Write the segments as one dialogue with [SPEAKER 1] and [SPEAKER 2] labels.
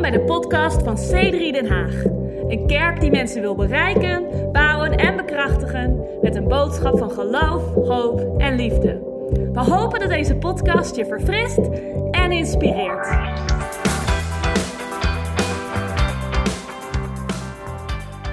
[SPEAKER 1] bij de podcast van C3 Den Haag. Een kerk die mensen wil bereiken, bouwen en bekrachtigen met een boodschap van geloof, hoop en liefde. We hopen dat deze podcast je verfrist en inspireert.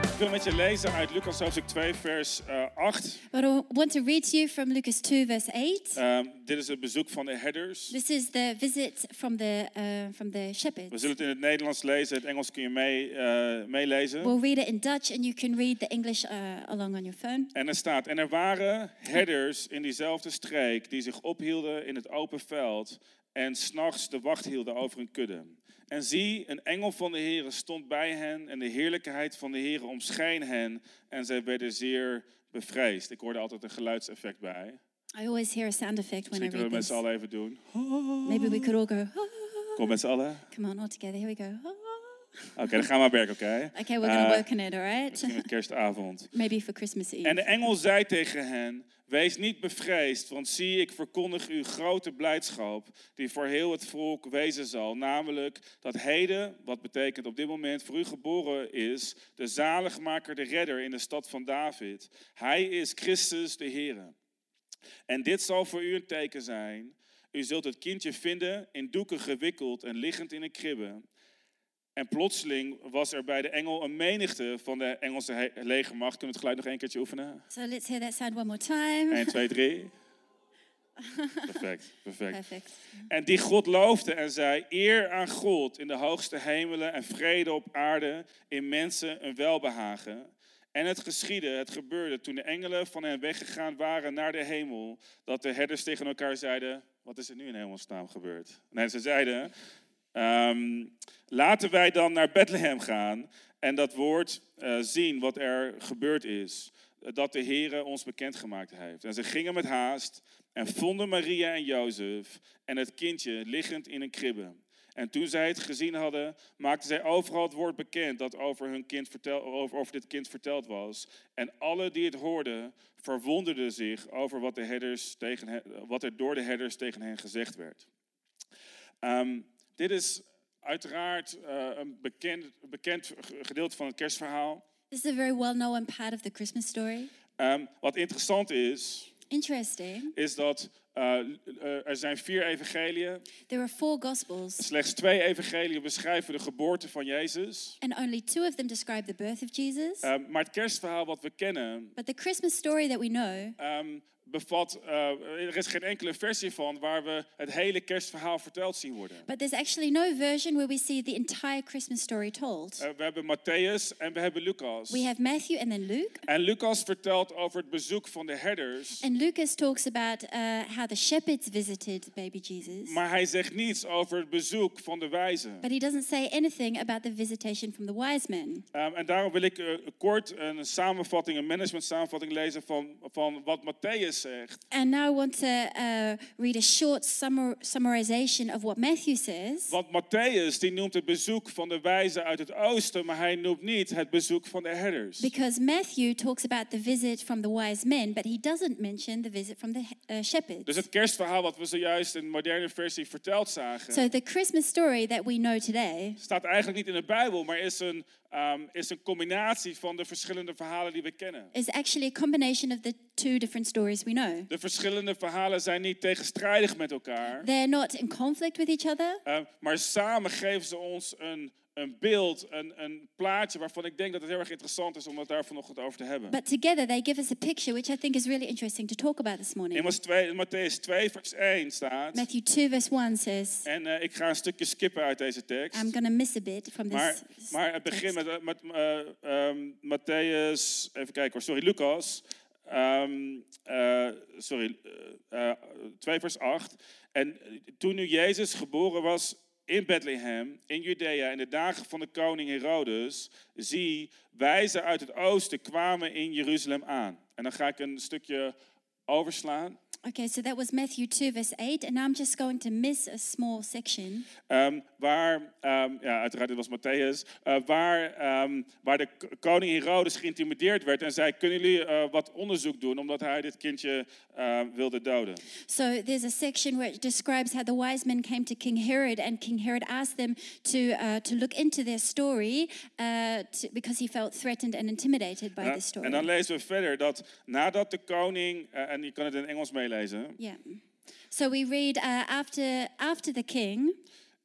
[SPEAKER 2] Ik wil met je lezen uit Lucas hoofdstuk 2, vers eh, 8.
[SPEAKER 3] But I want to read to you from Lucas 2, verse 8.
[SPEAKER 2] Ehm, dit is het bezoek van de herders.
[SPEAKER 3] This is the visit from the, uh, from the
[SPEAKER 2] We
[SPEAKER 3] shepherds.
[SPEAKER 2] zullen het in het Nederlands lezen, het Engels kun je mee, eh, meelezen.
[SPEAKER 3] We'll read it in Dutch and you can read the English uh, along on your phone.
[SPEAKER 2] En er staat, en er waren herders in diezelfde streek die zich ophielden in het open veld en s'nachts de wacht hielden over hun kudde. En zie, een engel van de Heere stond bij hen en de heerlijkheid van de Heere omscheen hen en zij werden zeer bevreesd. Ik hoorde altijd een geluidseffect bij.
[SPEAKER 3] I always hear a sound effect when I
[SPEAKER 2] Misschien kunnen
[SPEAKER 3] read
[SPEAKER 2] we met
[SPEAKER 3] this.
[SPEAKER 2] z'n allen even doen.
[SPEAKER 3] Maybe we could all go, "Ah."
[SPEAKER 2] Kom met z'n allen.
[SPEAKER 3] come on, all together. Here we go. "Ah."
[SPEAKER 2] Oké, dan gaan we aan werk, oké?
[SPEAKER 3] Okay, we're going
[SPEAKER 2] Eh,
[SPEAKER 3] to work on it, all right?
[SPEAKER 2] misschien met kerstavond.
[SPEAKER 3] Maybe for Christmas Eve.
[SPEAKER 2] En de engel zei tegen hen, wees niet bevreesd, want zie, ik verkondig u grote blijdschap die voor heel het volk wezen zal. Namelijk dat heden, wat betekent op dit moment, voor u geboren is, de zaligmaker, de redder in de stad van David. Hij is Christus de Here. En dit zal voor u een teken zijn. U zult het kindje vinden in doeken gewikkeld en liggend in een kribbe. En plotseling was er bij de engel een menigte van de Engelse he- legermacht. Kunnen we het geluid nog een keertje oefenen?
[SPEAKER 3] so let's hear that sound one more time.
[SPEAKER 2] 1, 2, 3. Perfect, perfect.
[SPEAKER 3] Perfect.
[SPEAKER 2] En die God loofde en zei: Eer aan God in de hoogste hemelen en vrede op aarde, in mensen een welbehagen. En het geschiedde, het gebeurde toen de engelen van hen weggegaan waren naar de hemel, dat de herders tegen elkaar zeiden: Wat is er nu in hemelsnaam gebeurd? Nee, ze zeiden: Ehm, laten wij dan naar Bethlehem gaan en dat woord eh, zien wat er gebeurd is. eh, Dat de Heere ons bekendgemaakt heeft. En ze gingen met haast en vonden Maria en Jozef en het kindje liggend in een kribbe. En toen zij het gezien hadden, maakten zij overal het woord bekend dat over, hun kind vertel, over, over dit kind verteld was. En alle die het hoorden, verwonderden zich over wat, de herders tegen hen- wat er door de herders tegen hen gezegd werd. Ehm, dit is uiteraard eh, een bekend, bekend ge- gedeelte van het kerstverhaal.
[SPEAKER 3] This is a very well known part of the Christmas story.
[SPEAKER 2] Ehm, wat interessant is,
[SPEAKER 3] Interesting.
[SPEAKER 2] is dat eh, eh, er zijn vier evangeliën.
[SPEAKER 3] There are four Gospels,
[SPEAKER 2] Slechts twee evangeliën beschrijven de geboorte van Jezus.
[SPEAKER 3] and only two of them describe the birth of Jesus.
[SPEAKER 2] Ehm, maar het kerstverhaal wat we kennen,
[SPEAKER 3] But the Christmas story that we know,
[SPEAKER 2] ehm, bevat, eh, er is geen enkele versie van waar we het hele kerstverhaal verteld zien worden.
[SPEAKER 3] but there's actually no version where we see the entire Christmas story told.
[SPEAKER 2] Eh, we hebben Matthäus en we hebben Lucas.
[SPEAKER 3] We have Matthew and then Luke,
[SPEAKER 2] En Lucas vertelt over het bezoek van de herders.
[SPEAKER 3] and Lucas talks about uh, how the shepherds visited baby Jesus,
[SPEAKER 2] Maar hij zegt niets over het bezoek van de wijzen.
[SPEAKER 3] but he doesn't say anything about the visitation from the wise men.
[SPEAKER 2] Ehm, en daarom wil ik eh, kort een samenvatting, een management samenvatting lezen van, van wat Matthäus zegt.
[SPEAKER 3] And now I want to uh, read a short summar- summarization of what Matthew says.
[SPEAKER 2] Want Matthäus die noemt het bezoek van de wijzen uit het oosten, maar hij noemt niet het bezoek van de herders.
[SPEAKER 3] Because Matthew talks about the visit from the wise men, but he doesn't mention the visit from the uh, shepherds.
[SPEAKER 2] Dus het kerstverhaal wat we zojuist in de moderne versie verteld
[SPEAKER 3] So
[SPEAKER 2] zagen,
[SPEAKER 3] the Christmas story that we know today
[SPEAKER 2] staat eigenlijk niet in de Bijbel, maar is een, ehm, is een combinatie van de verschillende verhalen die we kennen.
[SPEAKER 3] is actually a combination of the two different stories we know.
[SPEAKER 2] De verschillende verhalen zijn niet tegenstrijdig met elkaar.
[SPEAKER 3] They're not in conflict with each other,
[SPEAKER 2] Eh, maar samen geven ze ons een, een beeld, een, een plaatje waarvan ik denk dat het heel erg interessant is om het daar vanochtend over te hebben.
[SPEAKER 3] but together they give us a picture which I think is really interesting to talk about this morning.
[SPEAKER 2] In Matthäus 2, in Matthäus 2, vers 1 staat,
[SPEAKER 3] Matthew 2, verse 1 says,
[SPEAKER 2] en eh, ik ga een stukje skippen uit deze tekst,
[SPEAKER 3] I'm going to miss a bit from
[SPEAKER 2] maar,
[SPEAKER 3] this.
[SPEAKER 2] maar het begin
[SPEAKER 3] text.
[SPEAKER 2] met, eh, met eh, ehm, Matthäus, even kijken hoor, sorry, Lucas, ehm, eh, sorry, eh, eh, 2 vers 8. En toen nu Jezus geboren was in Bethlehem, in Judea, in de dagen van de koning Herodes, zie, wijzen uit het oosten kwamen in Jeruzalem aan. En dan ga ik een stukje overslaan.
[SPEAKER 3] Okay, so that was Matthew 2, verse 8, and I'm just going to miss a small section
[SPEAKER 2] Ehm, waar, ehm, ja, uiteraard, dit was Matthäus. eh, waar, ehm, waar de k- koning Herodes geïntimideerd werd en zei: Kunnen jullie eh, wat onderzoek doen? Omdat hij dit kindje eh, wilde doden.
[SPEAKER 3] So there's a section where it describes how the wise men came to King Herod, and King Herod asked them to uh, to look into their story uh, to, because he felt threatened and intimidated by
[SPEAKER 2] Ja,
[SPEAKER 3] the story.
[SPEAKER 2] en dan lezen we verder dat nadat de koning, eh, en je kan het in Engels meelezen,
[SPEAKER 3] yeah. So we read uh, after after the king,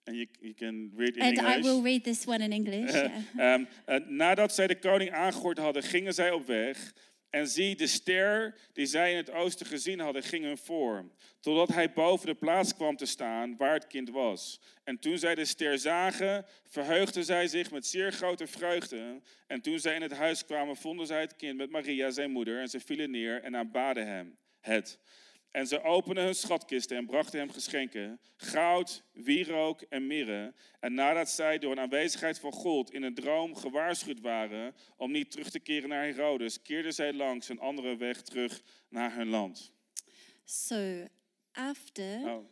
[SPEAKER 2] en je you can read in
[SPEAKER 3] and I
[SPEAKER 2] English.
[SPEAKER 3] will read this one in English. yeah.
[SPEAKER 2] Ehm, eh, nadat zij de koning aangehoord hadden, gingen zij op weg. En zie, de ster die zij in het oosten gezien hadden, ging hun voor. Totdat hij boven de plaats kwam te staan waar het kind was. En toen zij de ster zagen, verheugden zij zich met zeer grote vreugde. En toen zij in het huis kwamen, vonden zij het kind met Maria, zijn moeder. En ze vielen neer en aanbaden hem het. En ze openden hun schatkisten en brachten hem geschenken: goud, wierook en mirre. En nadat zij door een aanwezigheid van God in een droom gewaarschuwd waren om niet terug te keren naar Herodes, keerden zij langs een andere weg terug naar hun land.
[SPEAKER 3] So after
[SPEAKER 2] Nou,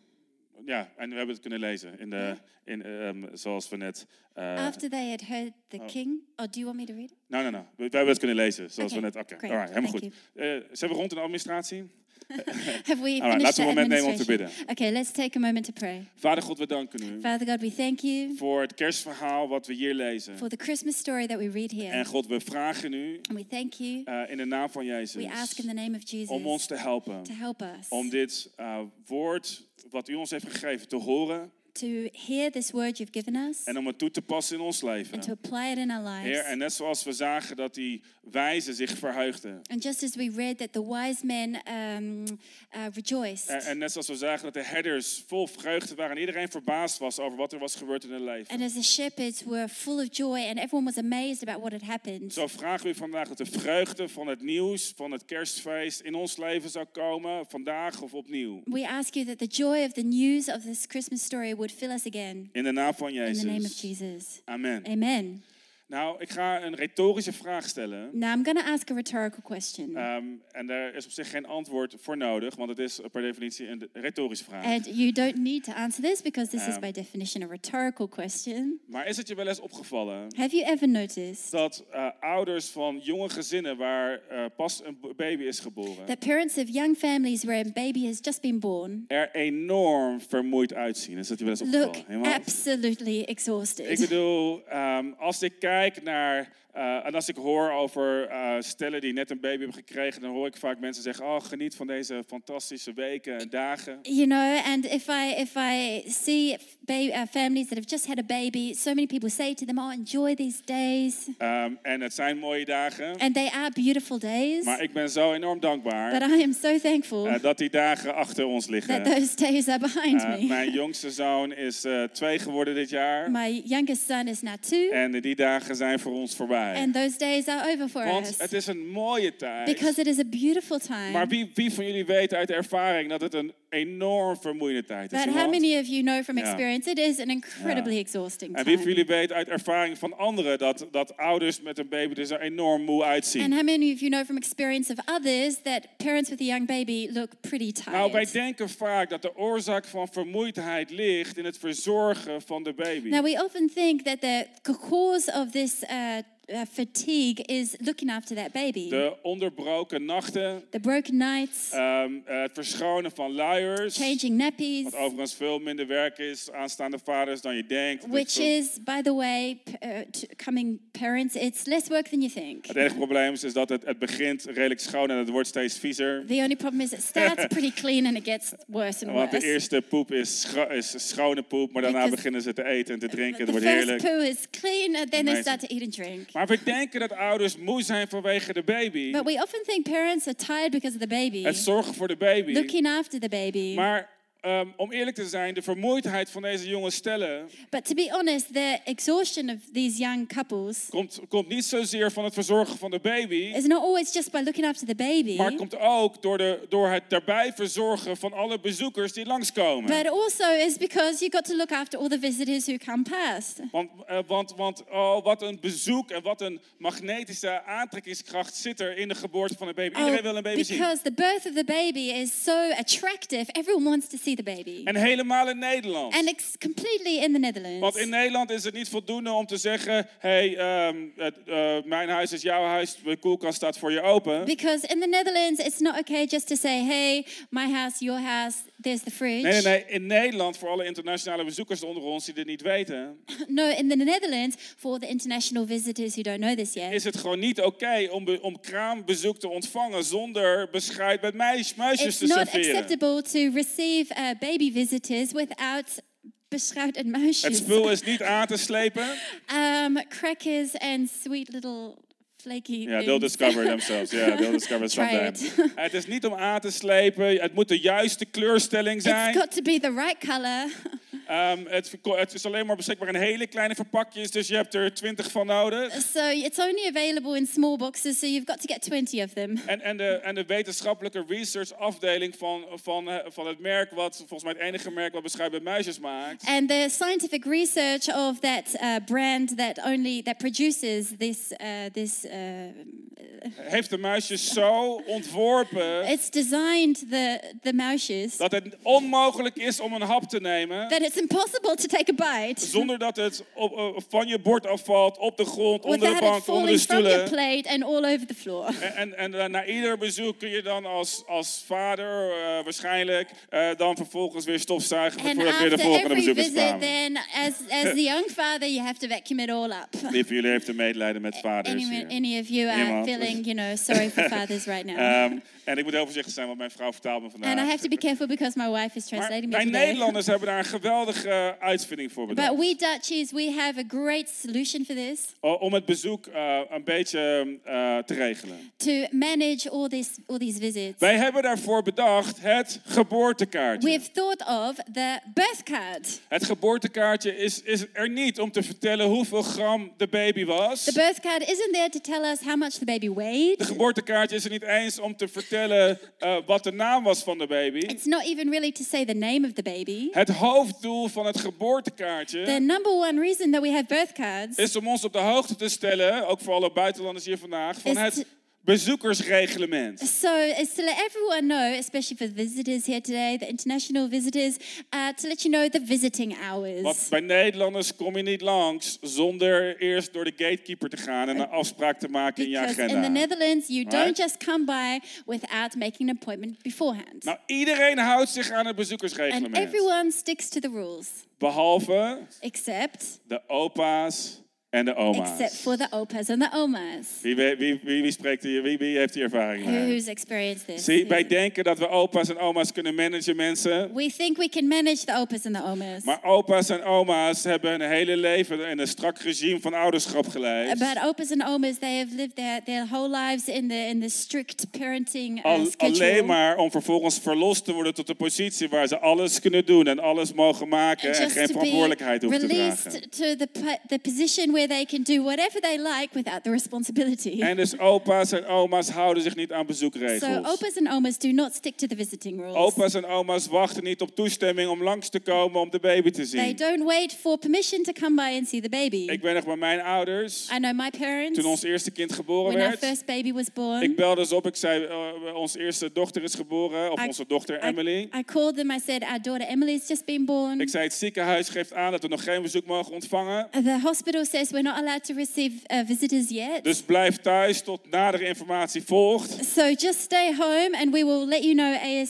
[SPEAKER 2] ja, en we hebben het kunnen lezen, in de, in, ehm, zoals we net. eh
[SPEAKER 3] after they had heard the king, oh, do you want me to read it?
[SPEAKER 2] nou, nou, nou, we, we hebben het kunnen lezen, zoals
[SPEAKER 3] Oké,
[SPEAKER 2] we net. Oké,
[SPEAKER 3] great,
[SPEAKER 2] alright, helemaal goed.
[SPEAKER 3] thank
[SPEAKER 2] Eh, zijn we rond in de administratie?
[SPEAKER 3] Have we
[SPEAKER 2] All right,
[SPEAKER 3] finished
[SPEAKER 2] laten we
[SPEAKER 3] the
[SPEAKER 2] een moment nemen om te
[SPEAKER 3] administration? Okay, let's take a moment to pray.
[SPEAKER 2] Vader God, we danken u
[SPEAKER 3] Father God, we thank you
[SPEAKER 2] voor het kerstverhaal wat we hier lezen.
[SPEAKER 3] for the Christmas story that we read here,
[SPEAKER 2] En God, we vragen u
[SPEAKER 3] and we thank you.
[SPEAKER 2] eh, in de naam van
[SPEAKER 3] We
[SPEAKER 2] Jezus
[SPEAKER 3] ask in the name of Jesus
[SPEAKER 2] om ons te helpen.
[SPEAKER 3] to help us
[SPEAKER 2] Om dit eh, woord wat u ons heeft gegeven te horen
[SPEAKER 3] to hear this word you've given us
[SPEAKER 2] en om het toe te passen in ons
[SPEAKER 3] and to
[SPEAKER 2] leven.
[SPEAKER 3] apply it in our lives.
[SPEAKER 2] Heer, en net zoals we zagen dat die wijzen zich verheugden.
[SPEAKER 3] and just as we read that the wise men um, uh, rejoiced,
[SPEAKER 2] En, en net zoals we zagen dat de herders vol vreugde waren en iedereen verbaasd was over wat er was gebeurd in hun leven.
[SPEAKER 3] and as the shepherds were full of joy, and everyone was amazed about what had happened.
[SPEAKER 2] Zo vragen we u vandaag dat de vreugde van het nieuws, van het kerstfeest in ons leven zou komen, vandaag of opnieuw.
[SPEAKER 3] we ask you that the joy of the news of this Christmas story would fill us again.
[SPEAKER 2] In de naam van
[SPEAKER 3] In the name
[SPEAKER 2] Jezus.
[SPEAKER 3] of Jesus.
[SPEAKER 2] Amen.
[SPEAKER 3] Amen.
[SPEAKER 2] Nou, ik ga een retorische vraag stellen.
[SPEAKER 3] Now I'm going to ask a rhetorical question.
[SPEAKER 2] Ehm, en daar is op zich geen antwoord voor nodig, want het is eh, per definitie een retorische vraag.
[SPEAKER 3] and you don't need to answer this because this is
[SPEAKER 2] Um,
[SPEAKER 3] by definition a rhetorical question.
[SPEAKER 2] Maar is het je wel eens opgevallen
[SPEAKER 3] Have you ever noticed
[SPEAKER 2] dat eh, ouders van jonge gezinnen waar eh, pas een b- baby is geboren,
[SPEAKER 3] that parents of young families where a baby has just been born
[SPEAKER 2] er enorm vermoeid uitzien? Is dat je wel eens
[SPEAKER 3] look
[SPEAKER 2] opgevallen? Helemaal?
[SPEAKER 3] absolutely
[SPEAKER 2] Ik
[SPEAKER 3] exhausted?
[SPEAKER 2] bedoel, ehm, als ik kijk naar, eh, en als ik hoor over eh, stellen die net een baby hebben gekregen, dan hoor ik vaak mensen zeggen, oh geniet van deze fantastische weken en dagen.
[SPEAKER 3] You know, and if I if I see ba- uh, families that have just had a baby, so many people say to them, "Oh, enjoy these days,"
[SPEAKER 2] Ehm, en het zijn mooie dagen,
[SPEAKER 3] and they are beautiful days.
[SPEAKER 2] maar ik ben zo enorm dankbaar.
[SPEAKER 3] But I am so thankful
[SPEAKER 2] Eh, dat die dagen achter ons
[SPEAKER 3] that
[SPEAKER 2] liggen.
[SPEAKER 3] those days are behind
[SPEAKER 2] Eh,
[SPEAKER 3] me.
[SPEAKER 2] mijn jongste zoon is eh, twee geworden dit jaar.
[SPEAKER 3] My youngest son is now two,
[SPEAKER 2] En die dagen zijn voor ons voorbij.
[SPEAKER 3] and those days are over for
[SPEAKER 2] Want het
[SPEAKER 3] us
[SPEAKER 2] is een mooie tijd.
[SPEAKER 3] because it is a beautiful time.
[SPEAKER 2] Maar wie, wie van jullie weet uit ervaring dat het een enorm vermoeiende tijd is?
[SPEAKER 3] But how
[SPEAKER 2] iemand?
[SPEAKER 3] many of you know from
[SPEAKER 2] Ja.
[SPEAKER 3] experience it is an incredibly exhausting
[SPEAKER 2] En wie van
[SPEAKER 3] time?
[SPEAKER 2] jullie weet uit ervaring van anderen dat, dat ouders met een baby dus er enorm moe
[SPEAKER 3] And
[SPEAKER 2] uitzien?
[SPEAKER 3] how many of you know from experience of others that parents with a young baby look pretty
[SPEAKER 2] Nou,
[SPEAKER 3] tired?
[SPEAKER 2] wij denken vaak dat de oorzaak van vermoeidheid ligt in het verzorgen van de baby.
[SPEAKER 3] now, we often think that the c- cause of this uh, uh, fatigue is looking after that baby.
[SPEAKER 2] De onderbroken nachten,
[SPEAKER 3] the broken nights,
[SPEAKER 2] Ehm, eh, het verschonen van luiers.
[SPEAKER 3] changing nappies,
[SPEAKER 2] Wat overigens veel minder werk is aanstaande vaders dan je denkt. Dus
[SPEAKER 3] which
[SPEAKER 2] veel-
[SPEAKER 3] is, by the way, p- uh, t- coming parents, it's less work than you think.
[SPEAKER 2] Het enige probleem is, is dat het, het begint redelijk schoon en het wordt steeds viezer.
[SPEAKER 3] The only problem is it starts pretty clean and it gets worse and
[SPEAKER 2] Want de
[SPEAKER 3] worse.
[SPEAKER 2] eerste poep is, scho- is schone poep, maar daarna
[SPEAKER 3] Because-
[SPEAKER 2] beginnen ze te eten en te drinken. Het
[SPEAKER 3] the
[SPEAKER 2] wordt
[SPEAKER 3] first
[SPEAKER 2] heerlijk.
[SPEAKER 3] poo is clean, and then they
[SPEAKER 2] Amazing.
[SPEAKER 3] start to eat and drink.
[SPEAKER 2] Maar we denken dat ouders moe zijn vanwege de baby.
[SPEAKER 3] But we often think parents are tired because of the baby,
[SPEAKER 2] Het zorgen voor de baby.
[SPEAKER 3] looking after the baby.
[SPEAKER 2] Maar ehm, om eerlijk te zijn, de vermoeidheid van deze jonge stellen
[SPEAKER 3] But to be honest, the exhaustion of these young couples
[SPEAKER 2] komt, komt niet zozeer van het verzorgen van de baby,
[SPEAKER 3] is not always just by looking after the baby,
[SPEAKER 2] maar komt ook door, de, door het daarbij verzorgen van alle bezoekers die langskomen.
[SPEAKER 3] but also is because you've got to look after all the visitors who come past.
[SPEAKER 2] Want, eh, want, want oh, wat een bezoek en wat een magnetische aantrekkingskracht zit er in de geboorte van een baby. Iedereen wil een baby zien.
[SPEAKER 3] Oh, because the birth of the baby is so attractive, everyone wants to see the baby.
[SPEAKER 2] En helemaal in Nederland.
[SPEAKER 3] And it's completely in the Netherlands.
[SPEAKER 2] Want in Nederland is het niet voldoende om te zeggen: hé, hey, ehm, het, eh, mijn huis is jouw huis, de koelkast staat voor je open.
[SPEAKER 3] Because in the Netherlands, it's not okay just to say, hey, my house, your house, there's the fridge.
[SPEAKER 2] Nee, nee, nee. In Nederland, voor alle internationale bezoekers onder ons die dit niet weten,
[SPEAKER 3] No, in the Netherlands, for the international visitors who don't know this yet,
[SPEAKER 2] is het gewoon niet oké om, be- om kraambezoek te ontvangen zonder bescheid met meis, muisjes
[SPEAKER 3] it's
[SPEAKER 2] te
[SPEAKER 3] not
[SPEAKER 2] serveren.
[SPEAKER 3] acceptable to receive uh, baby visitors without beschroud and
[SPEAKER 2] Het spul
[SPEAKER 3] muisjes.
[SPEAKER 2] is niet aan te slepen.
[SPEAKER 3] Um, crackers and sweet little flaky
[SPEAKER 2] Ja, they'll
[SPEAKER 3] things.
[SPEAKER 2] discover themselves. Ja, they'll discover
[SPEAKER 3] Try
[SPEAKER 2] sometime.
[SPEAKER 3] it.
[SPEAKER 2] Het is niet om aan te slepen. Het moet de juiste kleurstelling zijn.
[SPEAKER 3] It's got to be the right color.
[SPEAKER 2] Ehm, het, verko- het is alleen maar beschikbaar in hele kleine verpakjes, dus je hebt er 20 van nodig.
[SPEAKER 3] So it's only available in small boxes, so you've got to get 20 of them.
[SPEAKER 2] En, en, de, en de wetenschappelijke research afdeling van, van, eh, van het merk, wat volgens mij het enige merk wat beschrijft bij muisjes maakt,
[SPEAKER 3] And the scientific research of that uh, brand that only that produces this uh, this uh,
[SPEAKER 2] heeft de muisjes zo ontworpen
[SPEAKER 3] it's designed the the mouches
[SPEAKER 2] dat het onmogelijk is om een hap te nemen
[SPEAKER 3] that it's impossible to take a bite
[SPEAKER 2] zonder dat het op, eh, van je bord afvalt, op de grond, onder de
[SPEAKER 3] without it
[SPEAKER 2] bank, onder de
[SPEAKER 3] falling from your
[SPEAKER 2] stoelen.
[SPEAKER 3] plate and all over the floor.
[SPEAKER 2] En, en, en eh, na ieder bezoek kun je dan als, als vader eh, waarschijnlijk eh, dan vervolgens weer stofzuigen
[SPEAKER 3] And
[SPEAKER 2] voordat weer
[SPEAKER 3] after
[SPEAKER 2] de volgende
[SPEAKER 3] every
[SPEAKER 2] bezoekers
[SPEAKER 3] visit,
[SPEAKER 2] kwamen.
[SPEAKER 3] then as as the young father, you have to vacuum it all up.
[SPEAKER 2] Wie van jullie heeft te medelijden met vaders
[SPEAKER 3] Any,
[SPEAKER 2] hier?
[SPEAKER 3] any of you are
[SPEAKER 2] Helemaal.
[SPEAKER 3] feeling, you know, sorry for fathers right now.
[SPEAKER 2] Ehm, en ik moet heel voorzichtig zijn, want mijn vrouw vertaalt me vandaag.
[SPEAKER 3] And I have to be careful because my wife is
[SPEAKER 2] Maar
[SPEAKER 3] translating me
[SPEAKER 2] wij
[SPEAKER 3] today.
[SPEAKER 2] Nederlanders hebben daar een geweldige eh, uitvinding voor bedacht.
[SPEAKER 3] But we Dutchies, we have a great solution for this
[SPEAKER 2] O- Om het bezoek eh, een beetje eh, te regelen.
[SPEAKER 3] to manage all this all these visits.
[SPEAKER 2] Wij hebben daarvoor bedacht het geboortekaartje.
[SPEAKER 3] We've thought of the birth card.
[SPEAKER 2] Het geboortekaartje is, is er niet om te vertellen hoeveel gram de baby was.
[SPEAKER 3] The birth card isn't there to tell us how much the baby weighed.
[SPEAKER 2] De geboortekaartje is er niet eens om te vertellen eh, wat de naam was van de baby.
[SPEAKER 3] It's not even really to say the name of the baby.
[SPEAKER 2] Het hoofddoel van het
[SPEAKER 3] The
[SPEAKER 2] geboortekaartje
[SPEAKER 3] number one reason that we have birth cards
[SPEAKER 2] is om ons op de hoogte te stellen, ook voor alle buitenlanders hier vandaag, van
[SPEAKER 3] Is
[SPEAKER 2] het
[SPEAKER 3] te-
[SPEAKER 2] bezoekersreglement.
[SPEAKER 3] So, is to let everyone know, especially for the visitors here today, the international visitors, uh, to let you know the visiting
[SPEAKER 2] Want
[SPEAKER 3] hours.
[SPEAKER 2] bij Nederlanders kom je niet langs zonder eerst door de gatekeeper te gaan en een afspraak te maken in je
[SPEAKER 3] Eh, Because in the
[SPEAKER 2] agenda.
[SPEAKER 3] Netherlands, you
[SPEAKER 2] Right.
[SPEAKER 3] don't just come by without making an appointment beforehand.
[SPEAKER 2] Nou, iedereen houdt zich aan het
[SPEAKER 3] And
[SPEAKER 2] bezoekersreglement.
[SPEAKER 3] everyone sticks to the rules,
[SPEAKER 2] Behalve
[SPEAKER 3] except
[SPEAKER 2] de opa's en de
[SPEAKER 3] except
[SPEAKER 2] oma's.
[SPEAKER 3] for the opas and the omas.
[SPEAKER 2] Wie, we- wie, wie, wie, spreekt hier, wie, wie heeft hier ervaring
[SPEAKER 3] Who-
[SPEAKER 2] mee?
[SPEAKER 3] Who's experienced this?
[SPEAKER 2] Zie, wij denken dat we opa's en oma's kunnen managen, mensen.
[SPEAKER 3] We think we can manage the opas and the omas.
[SPEAKER 2] Maar opa's en oma's hebben hun hele leven in een strak regime van ouderschap geleid.
[SPEAKER 3] But opas and omas, they have lived their, their whole lives in the in the strict parenting uh,
[SPEAKER 2] Al- alleen
[SPEAKER 3] schedule.
[SPEAKER 2] maar om vervolgens verlost te worden tot de positie waar ze alles kunnen doen en alles mogen maken en
[SPEAKER 3] just
[SPEAKER 2] eh, geen
[SPEAKER 3] to be
[SPEAKER 2] verantwoordelijkheid hoeven te dragen.
[SPEAKER 3] released to the, po- the position where they can do whatever they like without the responsibility.
[SPEAKER 2] En dus opa's en oma's houden zich niet aan
[SPEAKER 3] so
[SPEAKER 2] bezoekregels.
[SPEAKER 3] opas and omas do not stick to the visiting rules.
[SPEAKER 2] Opa's en oma's wachten niet op toestemming om langs te komen om de baby te
[SPEAKER 3] They
[SPEAKER 2] zien.
[SPEAKER 3] don't wait for permission to come by and see the baby.
[SPEAKER 2] Ik ben nog bij mijn ouders,
[SPEAKER 3] I know my parents,
[SPEAKER 2] toen ons eerste kind geboren
[SPEAKER 3] when our
[SPEAKER 2] werd.
[SPEAKER 3] first baby was born,
[SPEAKER 2] Ik belde ze op, ik zei, eh, onze eerste dochter is geboren, of
[SPEAKER 3] I-
[SPEAKER 2] onze dochter
[SPEAKER 3] I-
[SPEAKER 2] Emily.
[SPEAKER 3] I, called them, I said, our daughter Emily's just been born.
[SPEAKER 2] Ik zei, het ziekenhuis geeft aan dat we nog geen bezoek mogen ontvangen.
[SPEAKER 3] The hospital says we're not allowed to receive uh, visitors yet.
[SPEAKER 2] Dus blijf thuis tot nadere informatie volgt.
[SPEAKER 3] so just stay home and we will let you know
[SPEAKER 2] De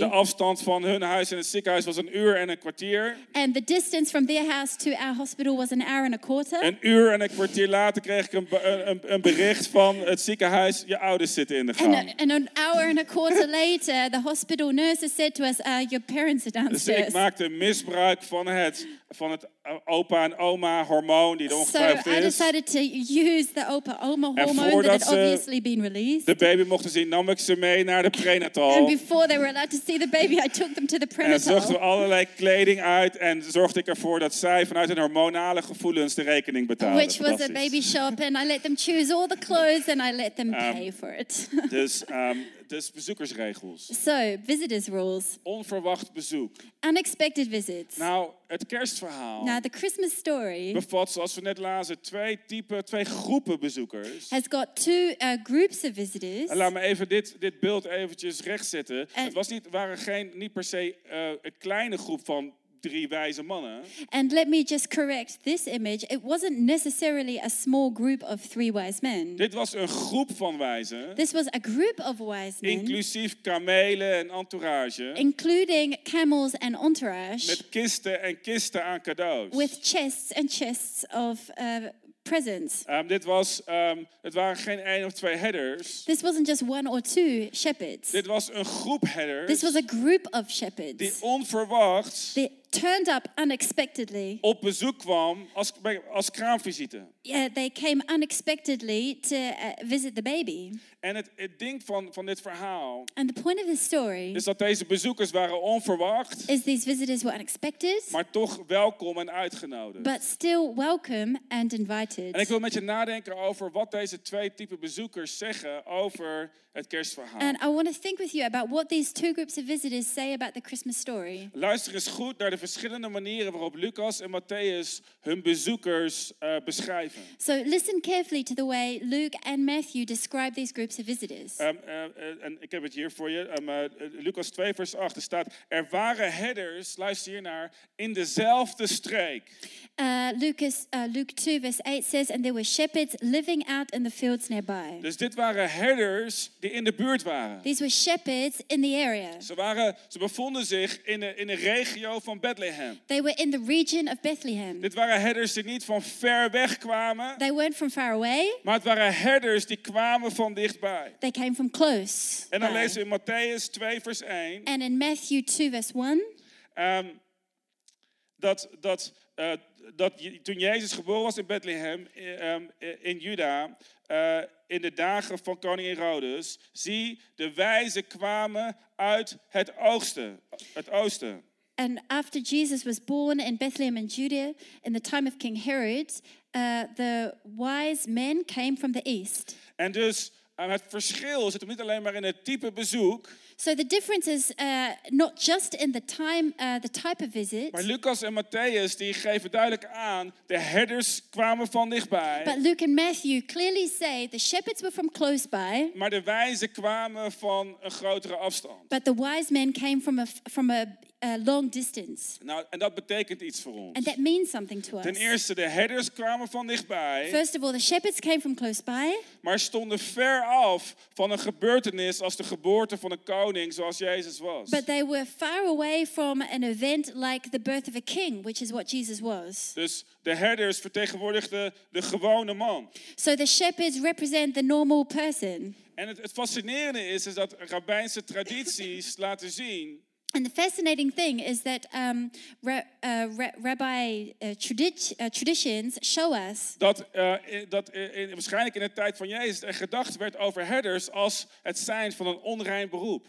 [SPEAKER 3] ASAP.
[SPEAKER 2] afstand van hun huis en het ziekenhuis was een uur en een kwartier.
[SPEAKER 3] and the distance from their house to our hospital was an hour and a quarter.
[SPEAKER 2] Een uur en een kwartier later kreeg ik een, be- een, een- een bericht van het ziekenhuis. Je ouders zitten in de
[SPEAKER 3] And,
[SPEAKER 2] gang.
[SPEAKER 3] a- and an hour and a quarter later, the hospital nurses said to us, uh, Your parents are
[SPEAKER 2] Dus ik
[SPEAKER 3] downstairs.
[SPEAKER 2] maakte misbruik van het, van het eh, opa en oma hormoon die er
[SPEAKER 3] So
[SPEAKER 2] ongetwijfeld
[SPEAKER 3] I
[SPEAKER 2] is.
[SPEAKER 3] decided to use the Opa Oma
[SPEAKER 2] En
[SPEAKER 3] hormone that
[SPEAKER 2] voordat
[SPEAKER 3] had
[SPEAKER 2] ze-
[SPEAKER 3] obviously been released.
[SPEAKER 2] De baby mochten zien, nam ik ze mee naar de
[SPEAKER 3] And
[SPEAKER 2] prenatal.
[SPEAKER 3] before they were allowed to see the baby, I took them to the
[SPEAKER 2] En zochten we
[SPEAKER 3] prenatal.
[SPEAKER 2] allerlei kleding uit en zorgde ik ervoor dat zij vanuit hun hormonale gevoelens de rekening betaalden.
[SPEAKER 3] Which was a
[SPEAKER 2] Fantastisch.
[SPEAKER 3] baby shop, and I let them choose all the clothes and I let them pay for it.
[SPEAKER 2] Dus, ehm, dus bezoekersregels.
[SPEAKER 3] so, visitors' rules,
[SPEAKER 2] Onverwacht bezoek.
[SPEAKER 3] unexpected visits.
[SPEAKER 2] Nou, het kerstverhaal
[SPEAKER 3] Now, the Christmas story
[SPEAKER 2] bevat, zoals we net lazen, twee typen, twee groepen bezoekers.
[SPEAKER 3] has got two uh, groups of visitors.
[SPEAKER 2] En laat me even dit, dit beeld eventjes rechtzetten.
[SPEAKER 3] En-
[SPEAKER 2] Het was niet, waren geen, niet per se eh, een kleine groep van drie wijze mannen.
[SPEAKER 3] And let me just correct this image. It wasn't necessarily a small group of three wise men.
[SPEAKER 2] Dit was een groep van wijzen,
[SPEAKER 3] This was a group of wise men,
[SPEAKER 2] inclusief kamelen en entourage,
[SPEAKER 3] including camels and entourage,
[SPEAKER 2] met kisten en kisten aan cadeaus.
[SPEAKER 3] with chests and chests of uh, presents.
[SPEAKER 2] Ehm, dit was, ehm, het waren geen één of twee headers.
[SPEAKER 3] This wasn't just one or two shepherds.
[SPEAKER 2] Dit was een groep
[SPEAKER 3] This
[SPEAKER 2] headers
[SPEAKER 3] was a group of
[SPEAKER 2] die
[SPEAKER 3] shepherds
[SPEAKER 2] onverwacht
[SPEAKER 3] that turned up unexpectedly.
[SPEAKER 2] op bezoek kwam als, bij- als kraamvisite.
[SPEAKER 3] Yeah, they came unexpectedly to uh, visit the baby.
[SPEAKER 2] En het, het ding van, van dit verhaal
[SPEAKER 3] And the point of the story
[SPEAKER 2] is dat deze bezoekers waren onverwacht,
[SPEAKER 3] is these visitors were unexpected,
[SPEAKER 2] maar toch welkom en uitgenodigd.
[SPEAKER 3] but still welcome and invited.
[SPEAKER 2] En ik wil met je nadenken over wat deze twee type bezoekers zeggen over het kerstverhaal.
[SPEAKER 3] And I want to think with you about what these two groups of visitors say about the Christmas story.
[SPEAKER 2] Luister eens goed naar de verschillende manieren waarop Lucas en Matthäus hun bezoekers eh, beschrijven.
[SPEAKER 3] So listen carefully to the way Luke and Matthew describe these groups of visitors.
[SPEAKER 2] Ehm, eh, eh, en ik heb het hier voor je. Ehm, eh, Lucas 2, vers 8. Er staat: Er waren herders, luister hier naar, in dezelfde streek.
[SPEAKER 3] Uh, Lucas, uh, Luke 2, verse 8 says, And there were shepherds living out in the fields nearby.
[SPEAKER 2] Dus dit waren herders die in de buurt waren.
[SPEAKER 3] These were shepherds in the area.
[SPEAKER 2] Ze, waren, ze bevonden zich in de, in de regio van Bethlehem.
[SPEAKER 3] They were in the region of Bethlehem.
[SPEAKER 2] Dit waren herders die niet van ver weg kwamen,
[SPEAKER 3] They weren't from far away,
[SPEAKER 2] maar het waren herders die kwamen van dichtbij.
[SPEAKER 3] they came from close.
[SPEAKER 2] En dan
[SPEAKER 3] by.
[SPEAKER 2] lezen we in Matthäus 2, vers 1,
[SPEAKER 3] And in Matthew 2, verse 1,
[SPEAKER 2] ehm, dat, dat, eh, dat je- toen Jezus geboren was in Bethlehem, eh, ehm, eh, in Juda, eh, in de dagen van koning Herodes, zie, de wijzen kwamen uit het oosten. Het oosten.
[SPEAKER 3] And after Jesus was born in Bethlehem in Judea, in the time of King Herod, uh, the wise men came from the east.
[SPEAKER 2] En dus eh, het verschil zit hem niet alleen maar in het type bezoek,
[SPEAKER 3] So the difference is uh, not just in the time, uh, the type of visit,
[SPEAKER 2] maar Lucas en Matthäus die geven duidelijk aan, de herders kwamen van
[SPEAKER 3] but
[SPEAKER 2] dichtbij,
[SPEAKER 3] Luke and Matthew clearly say the shepherds were from close by,
[SPEAKER 2] maar de wijzen kwamen van een grotere afstand.
[SPEAKER 3] but the wise men came from a from a, a long distance,
[SPEAKER 2] Nou, en dat betekent iets voor
[SPEAKER 3] and
[SPEAKER 2] ons.
[SPEAKER 3] that means something to us.
[SPEAKER 2] Ten eerste, de herders kwamen van dichtbij,
[SPEAKER 3] First of all, the shepherds came from close by,
[SPEAKER 2] maar stonden ver af van een gebeurtenis als de geboorte van een koning zoals Jezus was.
[SPEAKER 3] but they were far away from an event like the birth of a king, which is what Jesus was.
[SPEAKER 2] Dus de herders vertegenwoordigden de gewone man.
[SPEAKER 3] So the shepherds represent the normal person.
[SPEAKER 2] En het, het fascinerende is, is dat rabbijnse tradities laten zien
[SPEAKER 3] And the fascinating thing is that um, ra- uh, ra- rabbi uh, tradi- uh, traditions show us
[SPEAKER 2] dat, eh, in- dat eh, in- waarschijnlijk in de tijd van Jezus er gedacht werd over herders als het zijn van een onrein beroep.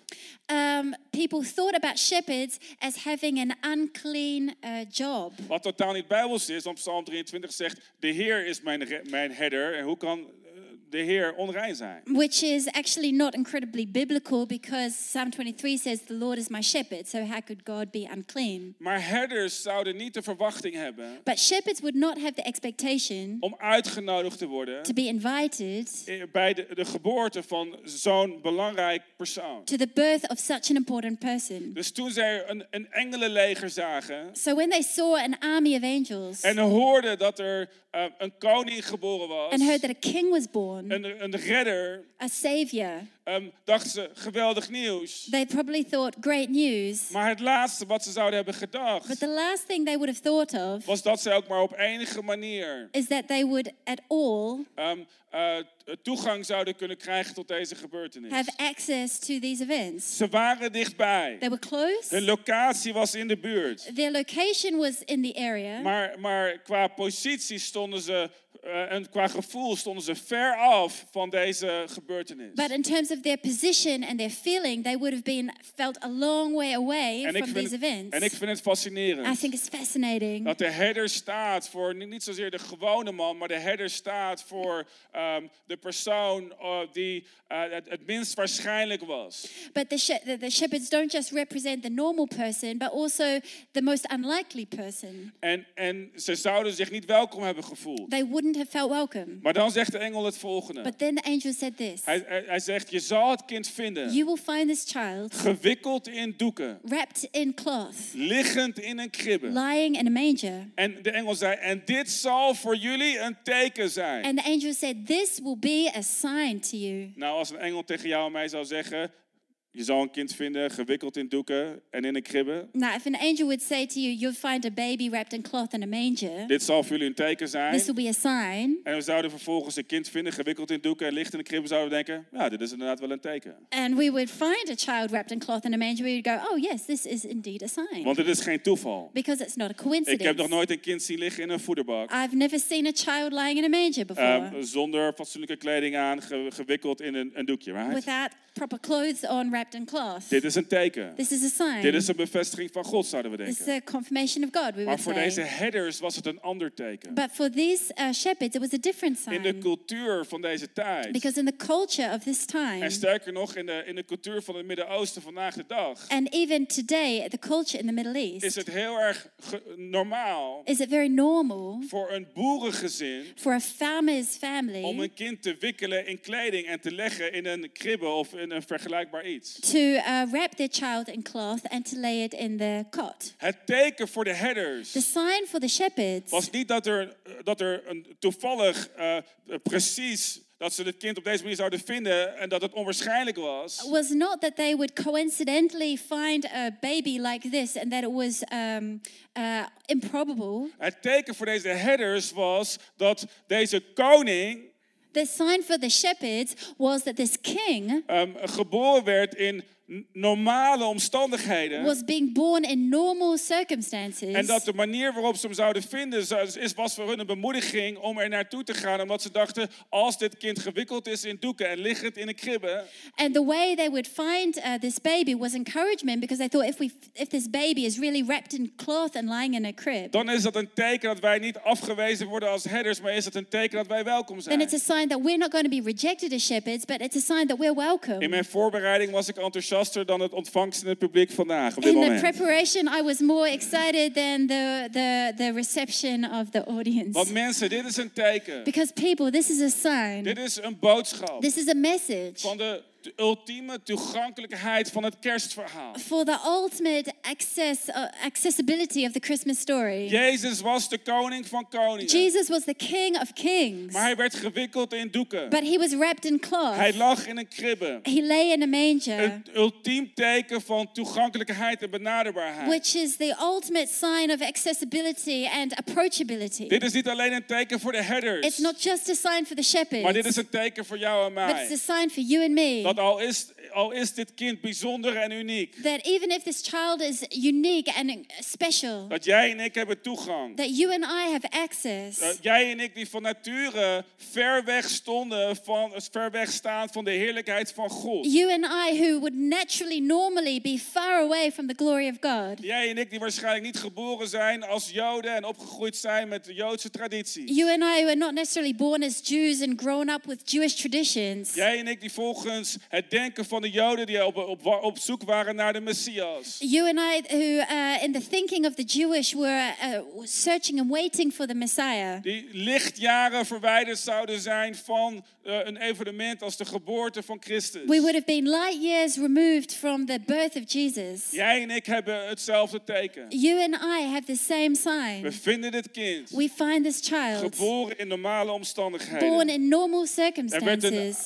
[SPEAKER 3] um, people thought about shepherds as having an unclean uh, job.
[SPEAKER 2] Wat totaal niet bijbels is, want Psalm 23 zegt, de Heer is mijn, re- mijn herder en hoe kan eh, de Heer onrein zijn?
[SPEAKER 3] Which is actually not incredibly biblical because Psalm 23 says, The Lord is my shepherd, so how could God be unclean?
[SPEAKER 2] Maar herders zouden niet de verwachting hebben
[SPEAKER 3] But shepherds would not have the expectation
[SPEAKER 2] om uitgenodigd te worden
[SPEAKER 3] to be invited
[SPEAKER 2] eh, bij de, de geboorte van zo'n belangrijk persoon.
[SPEAKER 3] to the birth of such an important person.
[SPEAKER 2] Dus toen zij een, een engelenleger zagen
[SPEAKER 3] So when they saw an army of angels
[SPEAKER 2] en hoorden dat er eh, een koning geboren was,
[SPEAKER 3] and heard that a king was born,
[SPEAKER 2] een, een redder,
[SPEAKER 3] a savior,
[SPEAKER 2] ehm, dachten ze, geweldig nieuws.
[SPEAKER 3] They probably thought great news.
[SPEAKER 2] Maar het laatste wat ze zouden hebben
[SPEAKER 3] But
[SPEAKER 2] gedacht,
[SPEAKER 3] the last thing they would have thought of
[SPEAKER 2] was dat ze ook maar op enige manier
[SPEAKER 3] is that they would at all
[SPEAKER 2] ehm, eh, toegang zouden kunnen krijgen tot deze
[SPEAKER 3] have
[SPEAKER 2] gebeurtenis.
[SPEAKER 3] access to these events.
[SPEAKER 2] Ze waren dichtbij.
[SPEAKER 3] They were close.
[SPEAKER 2] Hun locatie was in de buurt.
[SPEAKER 3] Their location was in the area,
[SPEAKER 2] Maar, maar qua positie stonden ze, eh, en qua gevoel stonden ze ver af van deze gebeurtenis.
[SPEAKER 3] but in terms of their position and their feeling, they would have been felt a long way away
[SPEAKER 2] en, ik
[SPEAKER 3] from
[SPEAKER 2] vind
[SPEAKER 3] these
[SPEAKER 2] het, en ik
[SPEAKER 3] events.
[SPEAKER 2] vind het
[SPEAKER 3] I
[SPEAKER 2] fascinerend.
[SPEAKER 3] think it's fascinating
[SPEAKER 2] Dat de herder staat voor ni- niet zozeer de gewone man, maar de herder staat voor ehm, de persoon eh, die eh, het, het minst waarschijnlijk was.
[SPEAKER 3] But the, she- the, the shepherds don't just represent the normal person, but also the most unlikely person.
[SPEAKER 2] En, en ze zouden zich niet welkom hebben gevoeld.
[SPEAKER 3] They wouldn't have felt welcome.
[SPEAKER 2] Maar dan zegt de engel het volgende.
[SPEAKER 3] But then the angel said this
[SPEAKER 2] Hij, hij, hij zegt, je zal het kind vinden,
[SPEAKER 3] You will find this child
[SPEAKER 2] gewikkeld in doeken,
[SPEAKER 3] wrapped in cloth,
[SPEAKER 2] liggend in een kribbe.
[SPEAKER 3] lying in a manger.
[SPEAKER 2] En de engel zei, en dit zal voor jullie een teken zijn.
[SPEAKER 3] And the angel said, This will be a sign to you.
[SPEAKER 2] Nou, als een engel tegen jou en mij zou zeggen, je zal een kind vinden, gewikkeld in doeken en in een kribbe.
[SPEAKER 3] Now, if an angel would say to you, You'll find a baby wrapped in cloth in a manger,
[SPEAKER 2] Dit zal voor jullie een teken zijn.
[SPEAKER 3] this will be a sign.
[SPEAKER 2] En we zouden vervolgens een kind vinden, gewikkeld in doeken en licht in de kribbe. Zouden we denken, ja, dit is inderdaad wel een teken.
[SPEAKER 3] And we would find a child wrapped in cloth in a manger, we would go, Oh, yes, this is indeed a sign.
[SPEAKER 2] Want dit is geen toeval.
[SPEAKER 3] Because it's not a
[SPEAKER 2] Ik heb nog
[SPEAKER 3] coincidence.
[SPEAKER 2] nooit een kind zien liggen in een voederbak.
[SPEAKER 3] I've never seen a child lying in a manger before
[SPEAKER 2] ehm, zonder fatsoenlijke kleding aan, ge- gewikkeld in een, een doekje. Right?
[SPEAKER 3] without proper clothes on, wrapped in cloth.
[SPEAKER 2] Dit is een teken.
[SPEAKER 3] This is a sign.
[SPEAKER 2] Dit is een bevestiging van God, zouden we
[SPEAKER 3] This is
[SPEAKER 2] denken.
[SPEAKER 3] a confirmation of God, we
[SPEAKER 2] Maar
[SPEAKER 3] would
[SPEAKER 2] voor
[SPEAKER 3] say.
[SPEAKER 2] deze headers was het een ander teken.
[SPEAKER 3] But for these uh, shepherds, it was a different
[SPEAKER 2] In de
[SPEAKER 3] sign.
[SPEAKER 2] cultuur van deze tijd.
[SPEAKER 3] Because in the culture of this time,
[SPEAKER 2] En sterker nog, in de, in de cultuur van het Midden-Oosten vandaag de dag.
[SPEAKER 3] and even today, the culture in the Middle East,
[SPEAKER 2] Is het heel erg ge- normaal
[SPEAKER 3] is it very normal
[SPEAKER 2] voor een boerengezin
[SPEAKER 3] for a farmer's
[SPEAKER 2] om
[SPEAKER 3] family
[SPEAKER 2] een kind te wikkelen in kleding en te leggen in een kribbe of in een vergelijkbaar iets.
[SPEAKER 3] to uh, wrap their child in cloth and to lay it in the cot?
[SPEAKER 2] Het teken voor de
[SPEAKER 3] The
[SPEAKER 2] herders
[SPEAKER 3] sign for the shepherds
[SPEAKER 2] was niet dat er, dat er een toevallig eh, precies dat ze het kind op deze manier zouden vinden en dat het onwaarschijnlijk was.
[SPEAKER 3] was not that they would coincidentally find a baby like this and that it was um, uh, improbable.
[SPEAKER 2] Het teken voor deze herders was dat deze koning
[SPEAKER 3] The sign for the shepherds was that this king
[SPEAKER 2] ehm, geboren werd in n- normale omstandigheden.
[SPEAKER 3] was being born in normal
[SPEAKER 2] En
[SPEAKER 3] circumstances.
[SPEAKER 2] dat de manier waarop ze hem zouden vinden zou- is, was voor hun een bemoediging om er naartoe te gaan. Omdat ze dachten, als dit kind gewikkeld is in doeken en liggend in een kribbe,
[SPEAKER 3] And the way they would find uh, this baby was encouragement because they thought if, we, if this baby is really wrapped in cloth and lying in a crib,
[SPEAKER 2] dan is dat een teken dat wij niet afgewezen worden als herders, maar is het een teken dat wij welkom
[SPEAKER 3] then
[SPEAKER 2] zijn.
[SPEAKER 3] it's a sign that we're not going to be rejected as shepherds, but it's a sign that we're welcome.
[SPEAKER 2] In mijn voorbereiding was ik enthousiaster dan het ontvangst in het publiek vandaag op dit
[SPEAKER 3] In the
[SPEAKER 2] moment.
[SPEAKER 3] preparation, I was more excited than the, the, the reception of the audience.
[SPEAKER 2] Want mensen, dit is een teken.
[SPEAKER 3] Because, people, this is a sign.
[SPEAKER 2] Dit is een boodschap
[SPEAKER 3] This is a message
[SPEAKER 2] van de t- ultieme toegankelijkheid van het kerstverhaal.
[SPEAKER 3] for the ultimate access, uh, accessibility of the Christmas story.
[SPEAKER 2] Jezus was de koning van koningen.
[SPEAKER 3] Jesus was the King of Kings,
[SPEAKER 2] Maar hij werd gewikkeld in doeken.
[SPEAKER 3] but he was wrapped in
[SPEAKER 2] Hij
[SPEAKER 3] cloth.
[SPEAKER 2] lag in een kribbe.
[SPEAKER 3] He lay in a manger,
[SPEAKER 2] Een ultiem teken van toegankelijkheid en benaderbaarheid.
[SPEAKER 3] which is the ultimate sign of accessibility and approachability.
[SPEAKER 2] Dit is niet alleen een teken voor de herders.
[SPEAKER 3] It's not just a sign for the
[SPEAKER 2] Maar dit is
[SPEAKER 3] shepherds,
[SPEAKER 2] een teken voor jou en
[SPEAKER 3] but it's a
[SPEAKER 2] mij.
[SPEAKER 3] sign for you and me.
[SPEAKER 2] Dat al is, al is dit kind bijzonder en uniek,
[SPEAKER 3] that even if this child is unique and special,
[SPEAKER 2] dat jij en ik hebben toegang.
[SPEAKER 3] that you and I have access.
[SPEAKER 2] Dat jij en ik die van nature ver weg stonden, van, ver weg staan van de heerlijkheid van God.
[SPEAKER 3] You and I, who would naturally normally be far away from the glory of God.
[SPEAKER 2] Jij en ik die waarschijnlijk niet geboren zijn als Joden en opgegroeid zijn met de Joodse traditie.
[SPEAKER 3] You and I, who are not necessarily born as Jews and grown up with Jewish traditions.
[SPEAKER 2] Jij en ik die volgens het denken van de Joden die op, op, op zoek waren naar de Messias.
[SPEAKER 3] You and I, who uh, in the thinking of the Jewish were uh, searching and waiting for the Messiah,
[SPEAKER 2] Die lichtjaren verwijderd zouden zijn van eh, een evenement als de geboorte van Christus.
[SPEAKER 3] we would have been light years removed from the birth of Jesus.
[SPEAKER 2] Jij en ik hebben hetzelfde teken.
[SPEAKER 3] You and I have the same
[SPEAKER 2] We
[SPEAKER 3] sign.
[SPEAKER 2] vinden dit kind
[SPEAKER 3] We find this child
[SPEAKER 2] geboren in normale omstandigheden.
[SPEAKER 3] born in normal
[SPEAKER 2] er werd een
[SPEAKER 3] circumstances,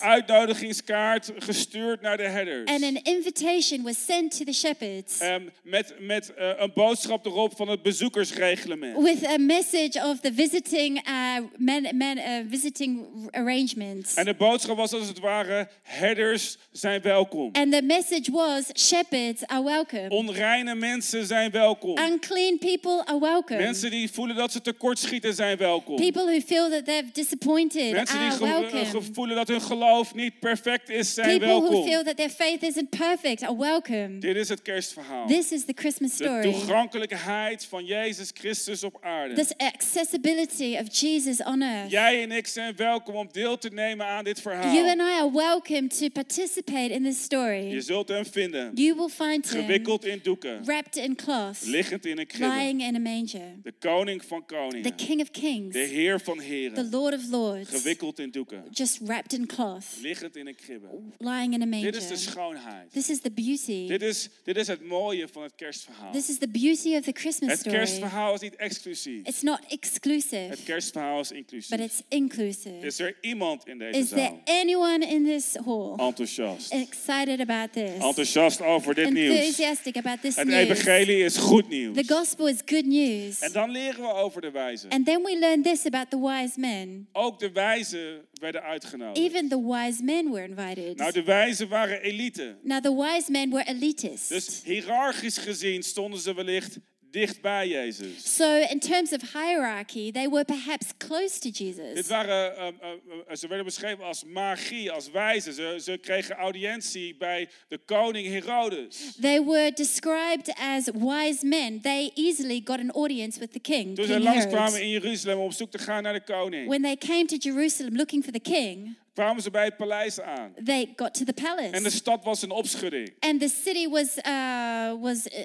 [SPEAKER 2] uitnodigingskaart gestuurd naar de herders.
[SPEAKER 3] and an invitation was sent to the shepherds
[SPEAKER 2] Ehm, met met eh, een boodschap erop van het bezoekersreglement.
[SPEAKER 3] with a message of the visiting uh, man, man, uh, visiting arrangements.
[SPEAKER 2] En de boodschap was als het ware, herders zijn welkom.
[SPEAKER 3] And the message was shepherds are welcome.
[SPEAKER 2] Oh. Onreine mensen zijn welkom.
[SPEAKER 3] Unclean people are welcome.
[SPEAKER 2] Mensen die voelen dat ze tekortschieten zijn welkom.
[SPEAKER 3] People who feel that they're disappointed
[SPEAKER 2] Mensen die
[SPEAKER 3] are
[SPEAKER 2] ge- eh,
[SPEAKER 3] welcome.
[SPEAKER 2] ge- voelen dat hun geloof niet perfect is, zijn
[SPEAKER 3] People who
[SPEAKER 2] welkom.
[SPEAKER 3] feel that their faith isn't perfect are welcome.
[SPEAKER 2] Dit is het kerstverhaal.
[SPEAKER 3] This is the Christmas
[SPEAKER 2] De
[SPEAKER 3] story.
[SPEAKER 2] toegankelijkheid van Jezus Christus op aarde.
[SPEAKER 3] This accessibility of Jesus on earth.
[SPEAKER 2] Jij en ik zijn welkom om deel te nemen aan dit
[SPEAKER 3] You
[SPEAKER 2] verhaal.
[SPEAKER 3] and I are welcome to participate in this
[SPEAKER 2] Je
[SPEAKER 3] story.
[SPEAKER 2] zult hem vinden,
[SPEAKER 3] You will find him
[SPEAKER 2] gewikkeld in doeken,
[SPEAKER 3] wrapped in cloth,
[SPEAKER 2] liggend in een kribbe.
[SPEAKER 3] lying in a manger.
[SPEAKER 2] De koning van
[SPEAKER 3] The
[SPEAKER 2] koningen,
[SPEAKER 3] King of Kings,
[SPEAKER 2] de heer van
[SPEAKER 3] the
[SPEAKER 2] heren,
[SPEAKER 3] Lord of Lords,
[SPEAKER 2] gewikkeld in doeken,
[SPEAKER 3] just wrapped in cloth,
[SPEAKER 2] liggend in een kribbe.
[SPEAKER 3] lying in a manger.
[SPEAKER 2] Dit is de schoonheid.
[SPEAKER 3] This is the beauty.
[SPEAKER 2] Dit is, dit is het mooie van het kerstverhaal.
[SPEAKER 3] This is the beauty of the Christmas
[SPEAKER 2] Het
[SPEAKER 3] story.
[SPEAKER 2] kerstverhaal is niet exclusief.
[SPEAKER 3] It's not
[SPEAKER 2] Het
[SPEAKER 3] exclusive,
[SPEAKER 2] kerstverhaal is
[SPEAKER 3] but
[SPEAKER 2] inclusief.
[SPEAKER 3] it's inclusive.
[SPEAKER 2] Is um, er iemand in deze
[SPEAKER 3] Is there
[SPEAKER 2] zaal
[SPEAKER 3] anyone in this hall
[SPEAKER 2] enthousiast?
[SPEAKER 3] excited about this?
[SPEAKER 2] Enthousiast over dit nieuws.
[SPEAKER 3] Enthusiastic about this
[SPEAKER 2] Het
[SPEAKER 3] news?
[SPEAKER 2] evangelie is goed
[SPEAKER 3] The
[SPEAKER 2] nieuws.
[SPEAKER 3] gospel is good news.
[SPEAKER 2] En dan leren we over de wijzen.
[SPEAKER 3] And then we learn this about the wise men.
[SPEAKER 2] Ook de wijzen werden uitgenodigd.
[SPEAKER 3] Even the wise men were invited.
[SPEAKER 2] Nou, de wijzen waren elite.
[SPEAKER 3] Now, the wise men were elitists.
[SPEAKER 2] Dus hiërarchisch gezien stonden ze wellicht dicht bij Jezus.
[SPEAKER 3] So, in terms of hierarchy, they were perhaps close to
[SPEAKER 2] Dit
[SPEAKER 3] Jesus.
[SPEAKER 2] waren, ehm, ehm, ehm, ze werden beschreven als magie, als wijzen. Ze, ze kregen audiëntie bij de koning Herodes.
[SPEAKER 3] They were described as wise men. They easily got an audience with the king.
[SPEAKER 2] Toen ze
[SPEAKER 3] King
[SPEAKER 2] langskwamen
[SPEAKER 3] Herod.
[SPEAKER 2] in Jeruzalem om op zoek te gaan naar de koning,
[SPEAKER 3] When they came to Jerusalem looking for the king,
[SPEAKER 2] kwamen ze bij het paleis aan.
[SPEAKER 3] they got to the
[SPEAKER 2] En de
[SPEAKER 3] palace.
[SPEAKER 2] stad was in opschudding.
[SPEAKER 3] And the city was, uh, was uh,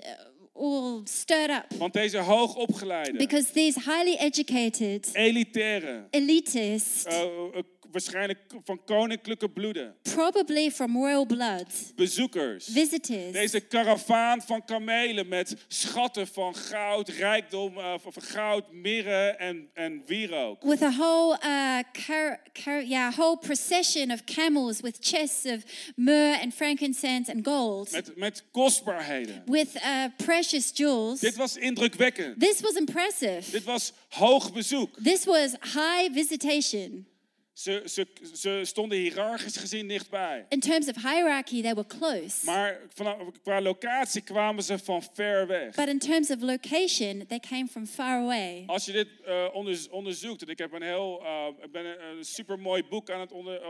[SPEAKER 3] all stirred up
[SPEAKER 2] Want deze hoogopgeleide,
[SPEAKER 3] because these highly educated
[SPEAKER 2] elitaire,
[SPEAKER 3] elitists
[SPEAKER 2] eh, eh, waarschijnlijk van koninklijke bloeden,
[SPEAKER 3] probably from royal blood,
[SPEAKER 2] bezoekers.
[SPEAKER 3] visitors.
[SPEAKER 2] Deze karavaan van kamelen met schatten van goud, rijkdom eh, van van goud, mirre en, en wierook.
[SPEAKER 3] With a whole, uh, car- car- yeah, whole procession of camels with chests of myrrh and frankincense and gold,
[SPEAKER 2] Met, met kostbaarheden.
[SPEAKER 3] with uh, precious jewels.
[SPEAKER 2] Dit was indrukwekkend.
[SPEAKER 3] This was
[SPEAKER 2] Dit
[SPEAKER 3] impressive.
[SPEAKER 2] was hoog bezoek.
[SPEAKER 3] This was high visitation.
[SPEAKER 2] Ze, ze, ze stonden hiërarchisch gezien dichtbij.
[SPEAKER 3] In terms of hierarchy, they were close.
[SPEAKER 2] Maar vanaf, qua locatie kwamen ze van ver weg.
[SPEAKER 3] But in terms of location, they came from far away.
[SPEAKER 2] Als je dit eh, onderz- onderzoekt, en ik heb een heel, eh, ik ben een, een supermooi boek aan het onder, eh,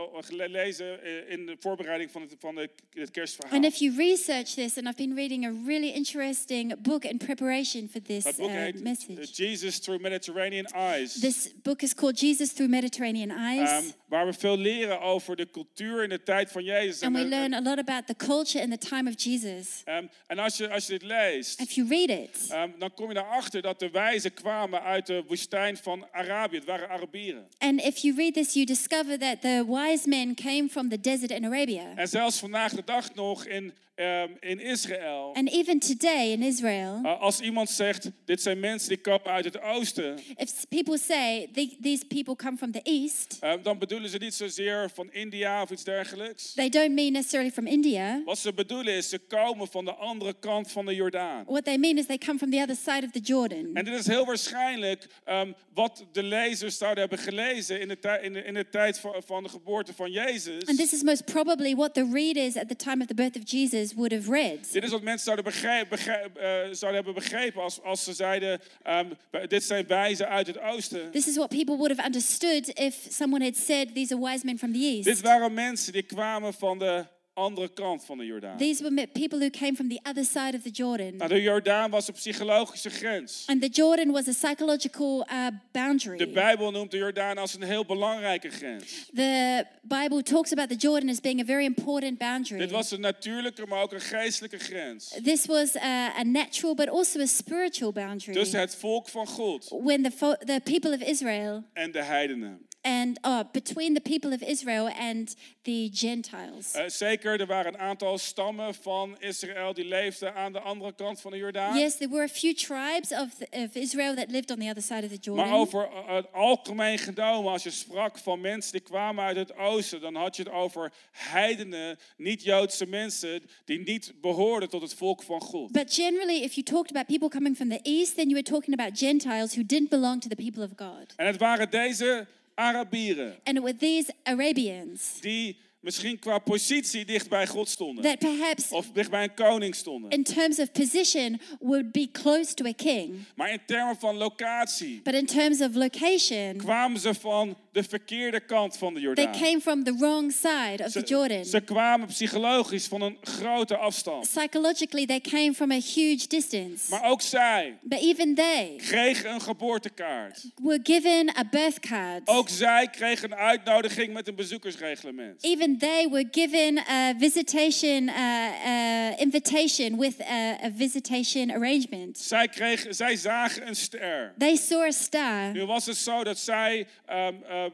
[SPEAKER 2] gelezen eh, in de voorbereiding van het, van de, het kerstverhaal.
[SPEAKER 3] And if you research this, and I've been reading a really interesting book in preparation for this
[SPEAKER 2] Het boek
[SPEAKER 3] uh,
[SPEAKER 2] heet eh,
[SPEAKER 3] message.
[SPEAKER 2] Jesus Through Mediterranean Eyes,
[SPEAKER 3] This book is called Jesus Through Mediterranean Eyes.
[SPEAKER 2] Ehm, waar we veel leren over de cultuur in de tijd van Jezus.
[SPEAKER 3] and we
[SPEAKER 2] eh,
[SPEAKER 3] learn a lot about the culture in the time of Jesus.
[SPEAKER 2] ehm, en als je, als je dit leest,
[SPEAKER 3] If you read it,
[SPEAKER 2] ehm, dan kom je erachter dat de wijzen kwamen uit de woestijn van Arabië. Het waren Arabieren.
[SPEAKER 3] and if you read this, you discover that the wise men came from the desert in Arabia.
[SPEAKER 2] En zelfs vandaag de dag nog in, ehm, in Israël.
[SPEAKER 3] And even today in Israel,
[SPEAKER 2] Uh, Als iemand zegt, dit zijn mensen die komen uit het oosten,
[SPEAKER 3] if s- people say "The- these people come from the east,
[SPEAKER 2] eh, dan bedoelen ze niet zozeer van India of iets dergelijks.
[SPEAKER 3] they don't mean necessarily from India.
[SPEAKER 2] Wat ze bedoelen is, ze komen van de andere kant van de Jordaan.
[SPEAKER 3] What they mean is they come from the other side of the Jordan.
[SPEAKER 2] En dit is heel waarschijnlijk ehm, wat de lezers zouden hebben gelezen in de, tij- in de, in de tijd van, van de geboorte van
[SPEAKER 3] And
[SPEAKER 2] Jezus.
[SPEAKER 3] this is most probably what the readers at the time of the birth of Jesus would have read.
[SPEAKER 2] Dit is wat mensen zouden, begrijp, begrijp- eh, zouden hebben begrepen als, als ze zeiden, ehm, dit zijn wijzen uit het oosten.
[SPEAKER 3] This is what people would have understood if someone had said, These are wise men from the east.
[SPEAKER 2] Dit waren mensen die kwamen van de andere kant van de Jordaan.
[SPEAKER 3] These were me- people who came from the other side of the Jordan.
[SPEAKER 2] Nou, de Jordaan was een psychologische grens.
[SPEAKER 3] And the Jordan was a psychological uh, boundary.
[SPEAKER 2] De Bijbel noemt de Jordaan als een heel belangrijke grens.
[SPEAKER 3] The Bible talks about the Jordan as being a very important boundary.
[SPEAKER 2] Dit was een natuurlijke, maar ook een geestelijke grens.
[SPEAKER 3] This was uh, a natural but also a spiritual boundary.
[SPEAKER 2] Tussen het volk van God
[SPEAKER 3] when the, fo- the people of Israel
[SPEAKER 2] en de heidenen.
[SPEAKER 3] and uh, between the people of Israel and the Gentiles.
[SPEAKER 2] Eh, zeker, er waren een aantal stammen van Israël die leefden aan de andere kant van de Jordaan.
[SPEAKER 3] Yes, there were a few tribes of, the, of Israel that lived on the other side of the Jordan.
[SPEAKER 2] Maar over eh, het algemeen genomen, als je sprak van mensen die kwamen uit het oosten, dan had je het over heidenen, niet-Joodse mensen die niet behoorden tot het volk van God.
[SPEAKER 3] But generally, if you talked about people coming from the east, then you were talking about Gentiles who didn't belong to the people of God.
[SPEAKER 2] En het waren deze Arabieren
[SPEAKER 3] And it were these Arabians
[SPEAKER 2] die misschien qua positie dicht bij God stonden.
[SPEAKER 3] that perhaps,
[SPEAKER 2] Of dicht bij een koning stonden.
[SPEAKER 3] in terms of position, would be close to a king.
[SPEAKER 2] Maar in termen van locatie
[SPEAKER 3] But in terms of location,
[SPEAKER 2] kwamen ze van de verkeerde kant van de
[SPEAKER 3] they
[SPEAKER 2] Jordaan.
[SPEAKER 3] came from the wrong side of the
[SPEAKER 2] Ze,
[SPEAKER 3] Jordan.
[SPEAKER 2] ze kwamen psychologisch van een grote afstand.
[SPEAKER 3] Psychologically, they came from a huge distance.
[SPEAKER 2] Maar ook zij
[SPEAKER 3] But even they
[SPEAKER 2] kregen een geboortekaart.
[SPEAKER 3] were given a birth card.
[SPEAKER 2] Ook zij kregen een uitnodiging met een bezoekersreglement.
[SPEAKER 3] Even they were given a visitation uh, uh, invitation with a, a visitation arrangement.
[SPEAKER 2] Zij, kregen, zij zagen een ster.
[SPEAKER 3] They saw a star.
[SPEAKER 2] Nu was het zo dat zij, ehm, eh, eh, eh,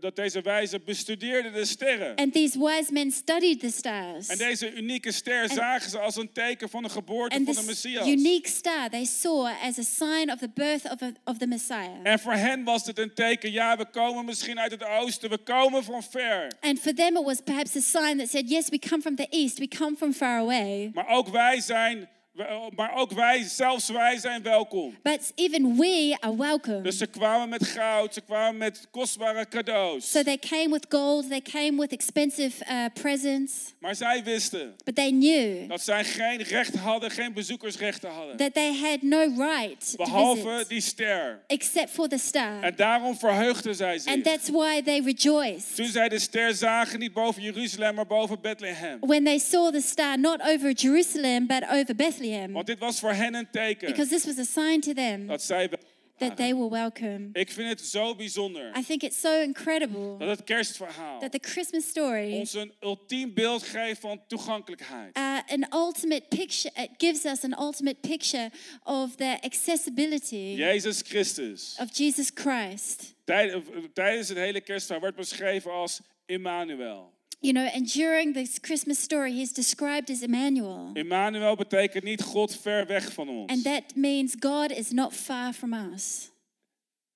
[SPEAKER 2] dat deze wijzen bestudeerden de sterren.
[SPEAKER 3] And these wise men studied the stars.
[SPEAKER 2] En deze unieke ster zagen ze als een teken van de geboorte
[SPEAKER 3] And
[SPEAKER 2] van de
[SPEAKER 3] this
[SPEAKER 2] Messias.
[SPEAKER 3] unique star they saw as a sign of the birth of, a- of the Messiah.
[SPEAKER 2] En voor hen was dit een teken, ja, we komen misschien uit het oosten, we komen van ver.
[SPEAKER 3] And for them, it was perhaps a sign that said, Yes, we come from the east, we come from far away.
[SPEAKER 2] Maar ook wij zijn, we- maar ook wij, zelfs wij zijn welkom.
[SPEAKER 3] But even we are welcome.
[SPEAKER 2] Dus ze kwamen met goud, ze kwamen met kostbare cadeaus.
[SPEAKER 3] So they came with gold, they came with expensive uh, presents,
[SPEAKER 2] Maar zij wisten
[SPEAKER 3] but they knew
[SPEAKER 2] dat zij geen recht hadden, geen bezoekersrechten hadden.
[SPEAKER 3] that they had no right to
[SPEAKER 2] Behalve
[SPEAKER 3] visit
[SPEAKER 2] die ster.
[SPEAKER 3] except for the star.
[SPEAKER 2] En daarom verheugden zij zich.
[SPEAKER 3] And that's why they rejoiced
[SPEAKER 2] Toen zij de ster zagen, niet boven Jeruzalem, maar boven Bethlehem.
[SPEAKER 3] when they saw the star not over Jerusalem but over Bethlehem
[SPEAKER 2] Want dit was voor hen een teken
[SPEAKER 3] because this was a sign to them
[SPEAKER 2] dat zij. wel-
[SPEAKER 3] that they were welcome.
[SPEAKER 2] Ik vind het zo bijzonder
[SPEAKER 3] I think it's so incredible
[SPEAKER 2] dat het kerstverhaal
[SPEAKER 3] that the Christmas story,
[SPEAKER 2] ons een ultiem beeld geeft van toegankelijkheid.
[SPEAKER 3] uh, an ultimate picture, it gives us an ultimate picture of the accessibility
[SPEAKER 2] Jezus Christus,
[SPEAKER 3] of Jesus Christ.
[SPEAKER 2] tijd- tijdens het hele kerstverhaal, werd beschreven als Immanuel.
[SPEAKER 3] You know, and during this Christmas story, he's described as Emmanuel.
[SPEAKER 2] Immanuel betekent niet God ver weg van
[SPEAKER 3] And
[SPEAKER 2] ons.
[SPEAKER 3] that means God is not far from us.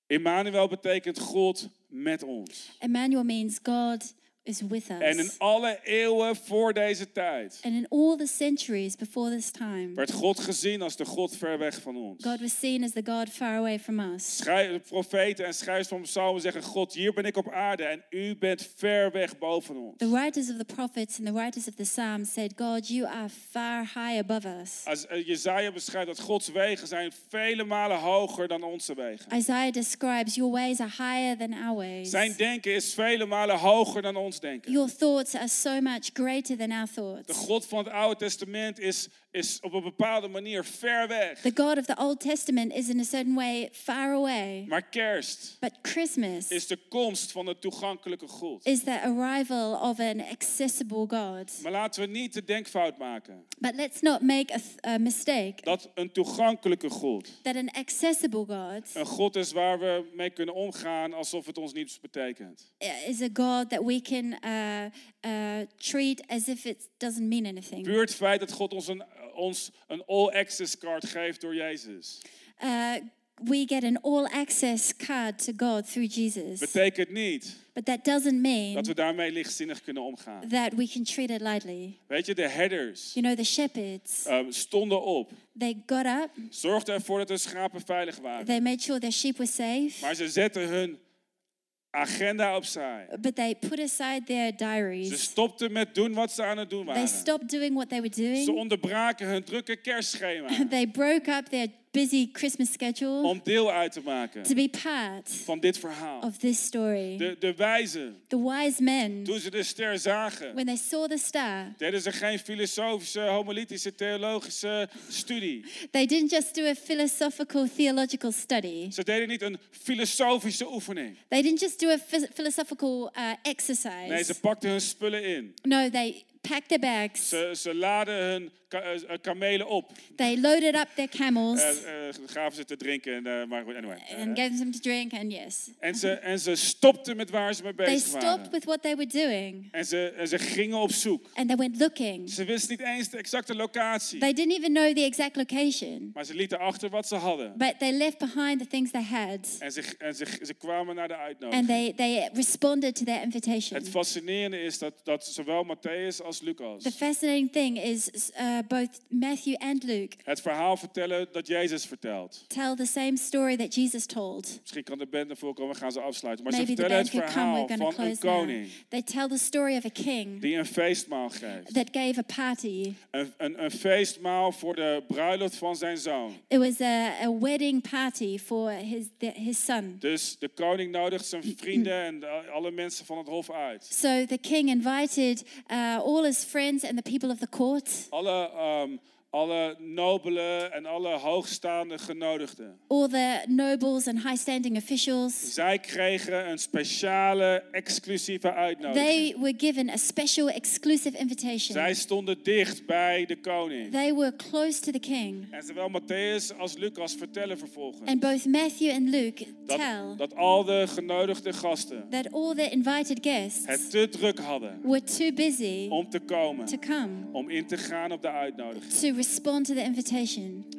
[SPEAKER 2] Immanuel betekent God met ons.
[SPEAKER 3] Emmanuel means God is with us.
[SPEAKER 2] En in alle eeuwen voor deze tijd
[SPEAKER 3] and in all the centuries before this time,
[SPEAKER 2] werd God gezien als de God ver weg van ons.
[SPEAKER 3] God was seen as the God far away from us.
[SPEAKER 2] Schrij- de profeten en schrijvers van psalmen zeggen: God, hier ben ik op aarde en u bent ver weg boven
[SPEAKER 3] The
[SPEAKER 2] ons.
[SPEAKER 3] writers of the prophets and the writers of the Psalms said, God, you are far high above us.
[SPEAKER 2] Als eh, Jezaja beschrijft dat Gods wegen zijn vele malen hoger dan onze wegen.
[SPEAKER 3] Isaiah describes, Your ways are higher than our ways.
[SPEAKER 2] Zijn denken is vele malen hoger dan ons denken.
[SPEAKER 3] Your thoughts are so much greater than our
[SPEAKER 2] De
[SPEAKER 3] thoughts.
[SPEAKER 2] God van het Oude Testament is, is op een bepaalde manier ver weg.
[SPEAKER 3] The God of the Old Testament is, in a certain way, far away.
[SPEAKER 2] Maar kerst
[SPEAKER 3] But Christmas
[SPEAKER 2] is de komst van de toegankelijke God.
[SPEAKER 3] is the arrival of an accessible God.
[SPEAKER 2] Maar laten we niet de denkfout maken
[SPEAKER 3] But let's not make a, th- a mistake
[SPEAKER 2] dat een toegankelijke God
[SPEAKER 3] that an accessible God uh,
[SPEAKER 2] een God is waar we mee kunnen omgaan alsof het ons niets betekent.
[SPEAKER 3] i- is a God that we can uh, uh, treat as if it doesn't mean anything.
[SPEAKER 2] Puur het feit dat God ons een, ons een all-access card geeft door Jezus,
[SPEAKER 3] Uh, we get an all access card to God through Jesus.
[SPEAKER 2] betekent niet
[SPEAKER 3] But that doesn't mean
[SPEAKER 2] dat we daarmee lichtzinnig kunnen omgaan.
[SPEAKER 3] that we can treat it lightly.
[SPEAKER 2] Weet je, de herders
[SPEAKER 3] You know, the shepherds,
[SPEAKER 2] ehm, stonden op,
[SPEAKER 3] they got up,
[SPEAKER 2] zorgden ervoor dat de schapen veilig waren,
[SPEAKER 3] they made sure their sheep were safe,
[SPEAKER 2] maar ze zetten hun agenda opzij.
[SPEAKER 3] but they put aside their
[SPEAKER 2] Ze
[SPEAKER 3] diaries.
[SPEAKER 2] stopten met doen wat ze aan het doen
[SPEAKER 3] They
[SPEAKER 2] waren.
[SPEAKER 3] stopped doing what they were doing.
[SPEAKER 2] Ze onderbraken hun drukke kerstschema.
[SPEAKER 3] They broke up their busy Christmas schedule
[SPEAKER 2] om deel uit te maken
[SPEAKER 3] to be part
[SPEAKER 2] van dit verhaal.
[SPEAKER 3] of this story.
[SPEAKER 2] De, de wijzen,
[SPEAKER 3] The wise men,
[SPEAKER 2] toen ze de ster zagen,
[SPEAKER 3] when they saw the star,
[SPEAKER 2] deden ze geen filosofische, homiletische, theologische studie.
[SPEAKER 3] they didn't just do a philosophical theological study.
[SPEAKER 2] Ze deden niet een filosofische oefening.
[SPEAKER 3] They didn't just do a phys- philosophical uh,
[SPEAKER 2] Nee,
[SPEAKER 3] exercise.
[SPEAKER 2] ze pakten hun spullen in.
[SPEAKER 3] No, they packed their bags.
[SPEAKER 2] Ze, ze laden hun ka- eh, eh, kamelen op.
[SPEAKER 3] They loaded up their camels
[SPEAKER 2] Eh, eh, gaven ze te drinken, en, eh, maar goed, anyway. Eh,
[SPEAKER 3] and gave them to drink, and yes,
[SPEAKER 2] en, ze, en ze stopten met waar ze mee
[SPEAKER 3] they
[SPEAKER 2] bezig
[SPEAKER 3] stopped
[SPEAKER 2] waren.
[SPEAKER 3] with what they were doing
[SPEAKER 2] En ze, en ze gingen op zoek.
[SPEAKER 3] and they went looking.
[SPEAKER 2] Ze wisten niet eens de exacte locatie.
[SPEAKER 3] They didn't even know the exact location,
[SPEAKER 2] Maar ze lieten achter wat ze hadden.
[SPEAKER 3] but they left behind the things they had
[SPEAKER 2] En ze, en ze, ze kwamen naar de
[SPEAKER 3] and
[SPEAKER 2] uitnodiging.
[SPEAKER 3] they, they responded to their invitation.
[SPEAKER 2] Het fascinerende is dat, dat zowel Matthäus als
[SPEAKER 3] The
[SPEAKER 2] Lucas
[SPEAKER 3] fascinating thing is uh, both Matthew and Luke
[SPEAKER 2] het verhaal vertellen dat Jezus vertelt.
[SPEAKER 3] tell the same story that Jesus told.
[SPEAKER 2] Misschien kan de band ervoor komen, we gaan ze afsluiten. Maar ze
[SPEAKER 3] Maybe the
[SPEAKER 2] vertellen het
[SPEAKER 3] band could come. We're
[SPEAKER 2] verhaal
[SPEAKER 3] going to
[SPEAKER 2] van een
[SPEAKER 3] close now.
[SPEAKER 2] koning
[SPEAKER 3] They tell the story of a king
[SPEAKER 2] die een feestmaal geeft.
[SPEAKER 3] that gave a party.
[SPEAKER 2] Een, een, een feestmaal voor de bruiloft van zijn zoon.
[SPEAKER 3] It was a, a wedding party for his th- his son.
[SPEAKER 2] Dus de koning nodigt zijn vrienden en de- alle mensen van het hof uit.
[SPEAKER 3] So the king invited uh, all his friends and the people of the court,
[SPEAKER 2] Alle, ehm, alle nobelen en alle hoogstaande genodigden.
[SPEAKER 3] all the nobles and high-standing officials.
[SPEAKER 2] Zij kregen een speciale, exclusieve uitnodiging.
[SPEAKER 3] They were given a special, exclusive invitation.
[SPEAKER 2] Zij stonden dicht bij de koning.
[SPEAKER 3] They were close to the king,
[SPEAKER 2] En zowel Matthäus als Lucas vertellen vervolgens
[SPEAKER 3] and both Matthew and Luke tell
[SPEAKER 2] dat, dat al de genodigde gasten
[SPEAKER 3] that all the invited
[SPEAKER 2] het
[SPEAKER 3] guests
[SPEAKER 2] te druk hadden
[SPEAKER 3] were too busy
[SPEAKER 2] om te
[SPEAKER 3] to
[SPEAKER 2] komen,
[SPEAKER 3] come
[SPEAKER 2] om in te gaan op de uitnodiging.
[SPEAKER 3] to respond to the invitation.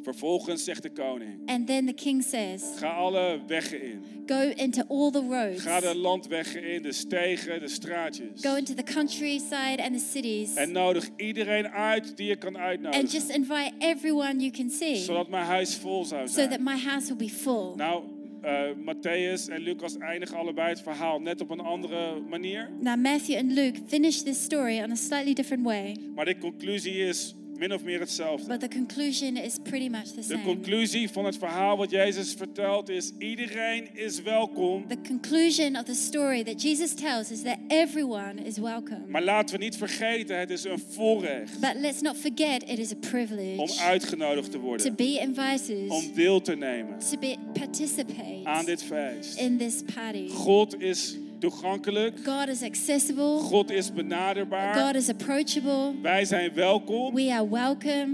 [SPEAKER 2] Vervolgens zegt de koning:
[SPEAKER 3] And then the king says,
[SPEAKER 2] Ga alle wegen in.
[SPEAKER 3] "Go into all the roads."
[SPEAKER 2] Ga de landwegen in, de stegen, de straatjes.
[SPEAKER 3] Go into the countryside and the cities
[SPEAKER 2] En nodig iedereen uit die je kan
[SPEAKER 3] and just
[SPEAKER 2] uitnodigen,
[SPEAKER 3] invite everyone you can see
[SPEAKER 2] zodat mijn huis vol zou
[SPEAKER 3] so that
[SPEAKER 2] zijn.
[SPEAKER 3] my house will be full.
[SPEAKER 2] Nou, eh, Matthäus en Lucas eindigen allebei het verhaal net op een andere manier.
[SPEAKER 3] Now, Matthew and Luke finish this story on a slightly different way,
[SPEAKER 2] Maar de conclusie is min of meer hetzelfde.
[SPEAKER 3] but the conclusion is pretty much the
[SPEAKER 2] De
[SPEAKER 3] same.
[SPEAKER 2] conclusie van het verhaal wat Jezus vertelt is: iedereen is welkom.
[SPEAKER 3] The conclusion of the story that Jesus tells is that everyone is welcome.
[SPEAKER 2] Maar laten we niet vergeten, het is een voorrecht
[SPEAKER 3] But let's not forget it is a
[SPEAKER 2] om
[SPEAKER 3] privilege
[SPEAKER 2] uitgenodigd te
[SPEAKER 3] to
[SPEAKER 2] worden,
[SPEAKER 3] be invited,
[SPEAKER 2] om deel te nemen
[SPEAKER 3] to be, participate
[SPEAKER 2] aan dit feest.
[SPEAKER 3] in this party.
[SPEAKER 2] God is toegankelijk,
[SPEAKER 3] God is accessible,
[SPEAKER 2] God is benaderbaar.
[SPEAKER 3] God is approachable,
[SPEAKER 2] Wij zijn welkom,
[SPEAKER 3] we are welcome,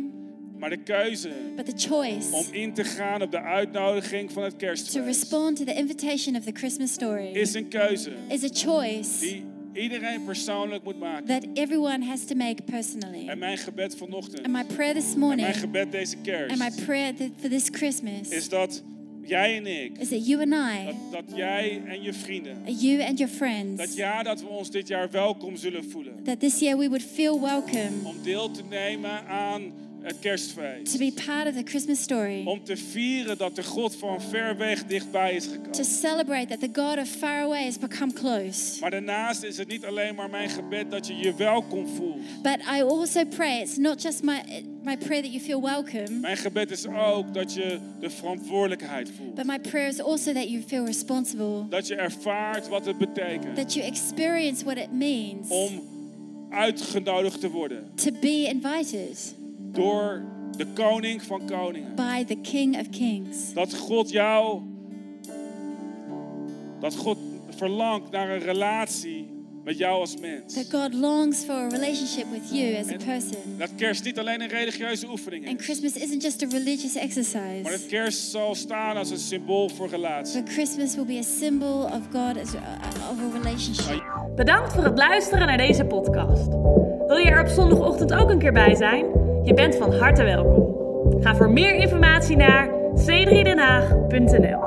[SPEAKER 2] maar de keuze
[SPEAKER 3] but the choice.
[SPEAKER 2] om in te gaan op de uitnodiging van het
[SPEAKER 3] To
[SPEAKER 2] kerstfeest
[SPEAKER 3] respond to the invitation of the Christmas story
[SPEAKER 2] is een keuze
[SPEAKER 3] is a choice
[SPEAKER 2] die iedereen persoonlijk moet maken.
[SPEAKER 3] that everyone has to make personally.
[SPEAKER 2] En mijn gebed vanochtend,
[SPEAKER 3] And my prayer this
[SPEAKER 2] en
[SPEAKER 3] morning
[SPEAKER 2] mijn gebed deze
[SPEAKER 3] and my
[SPEAKER 2] kerst,
[SPEAKER 3] prayer th- for this
[SPEAKER 2] is
[SPEAKER 3] Christmas
[SPEAKER 2] dat jij en ik,
[SPEAKER 3] is that you and I,
[SPEAKER 2] dat, dat jij en je vrienden,
[SPEAKER 3] you and your
[SPEAKER 2] dat
[SPEAKER 3] friends,
[SPEAKER 2] ja, dat we ons dit jaar welkom zullen voelen.
[SPEAKER 3] that this year we would feel welcome
[SPEAKER 2] Om deel te nemen aan het
[SPEAKER 3] to
[SPEAKER 2] kerstfeest.
[SPEAKER 3] be part of the Christmas story,
[SPEAKER 2] Om te vieren dat de God van ver weg dichtbij is
[SPEAKER 3] to
[SPEAKER 2] gekomen.
[SPEAKER 3] celebrate that the God of far away has become close.
[SPEAKER 2] Maar daarnaast is het niet alleen maar mijn gebed dat je je welkom voelt.
[SPEAKER 3] But I also pray it's not just my, my prayer that you feel welcome,
[SPEAKER 2] Mijn gebed is ook dat je de verantwoordelijkheid voelt.
[SPEAKER 3] but my prayer is also that you feel responsible,
[SPEAKER 2] Dat je ervaart wat het betekent
[SPEAKER 3] that you experience what it means.
[SPEAKER 2] om uitgenodigd te worden
[SPEAKER 3] to be invited
[SPEAKER 2] door de koning van koningen.
[SPEAKER 3] by the King of Kings.
[SPEAKER 2] Dat God jou, dat God verlangt naar een relatie met jou als mens.
[SPEAKER 3] That God longs for a relationship with you as a
[SPEAKER 2] And-
[SPEAKER 3] person.
[SPEAKER 2] Dat kerst niet alleen een religieuze oefening
[SPEAKER 3] And
[SPEAKER 2] is,
[SPEAKER 3] Christmas isn't just a religious
[SPEAKER 2] maar dat
[SPEAKER 3] exercise,
[SPEAKER 2] kerst zal staan als een symbool voor relatie.
[SPEAKER 3] but Christmas will be a symbol of God as uh, of a relationship.
[SPEAKER 1] Bedankt voor het luisteren naar deze podcast. Wil je er op zondagochtend ook een keer bij zijn? Je bent van harte welkom. Ga voor meer informatie naar c3denhaag.nl.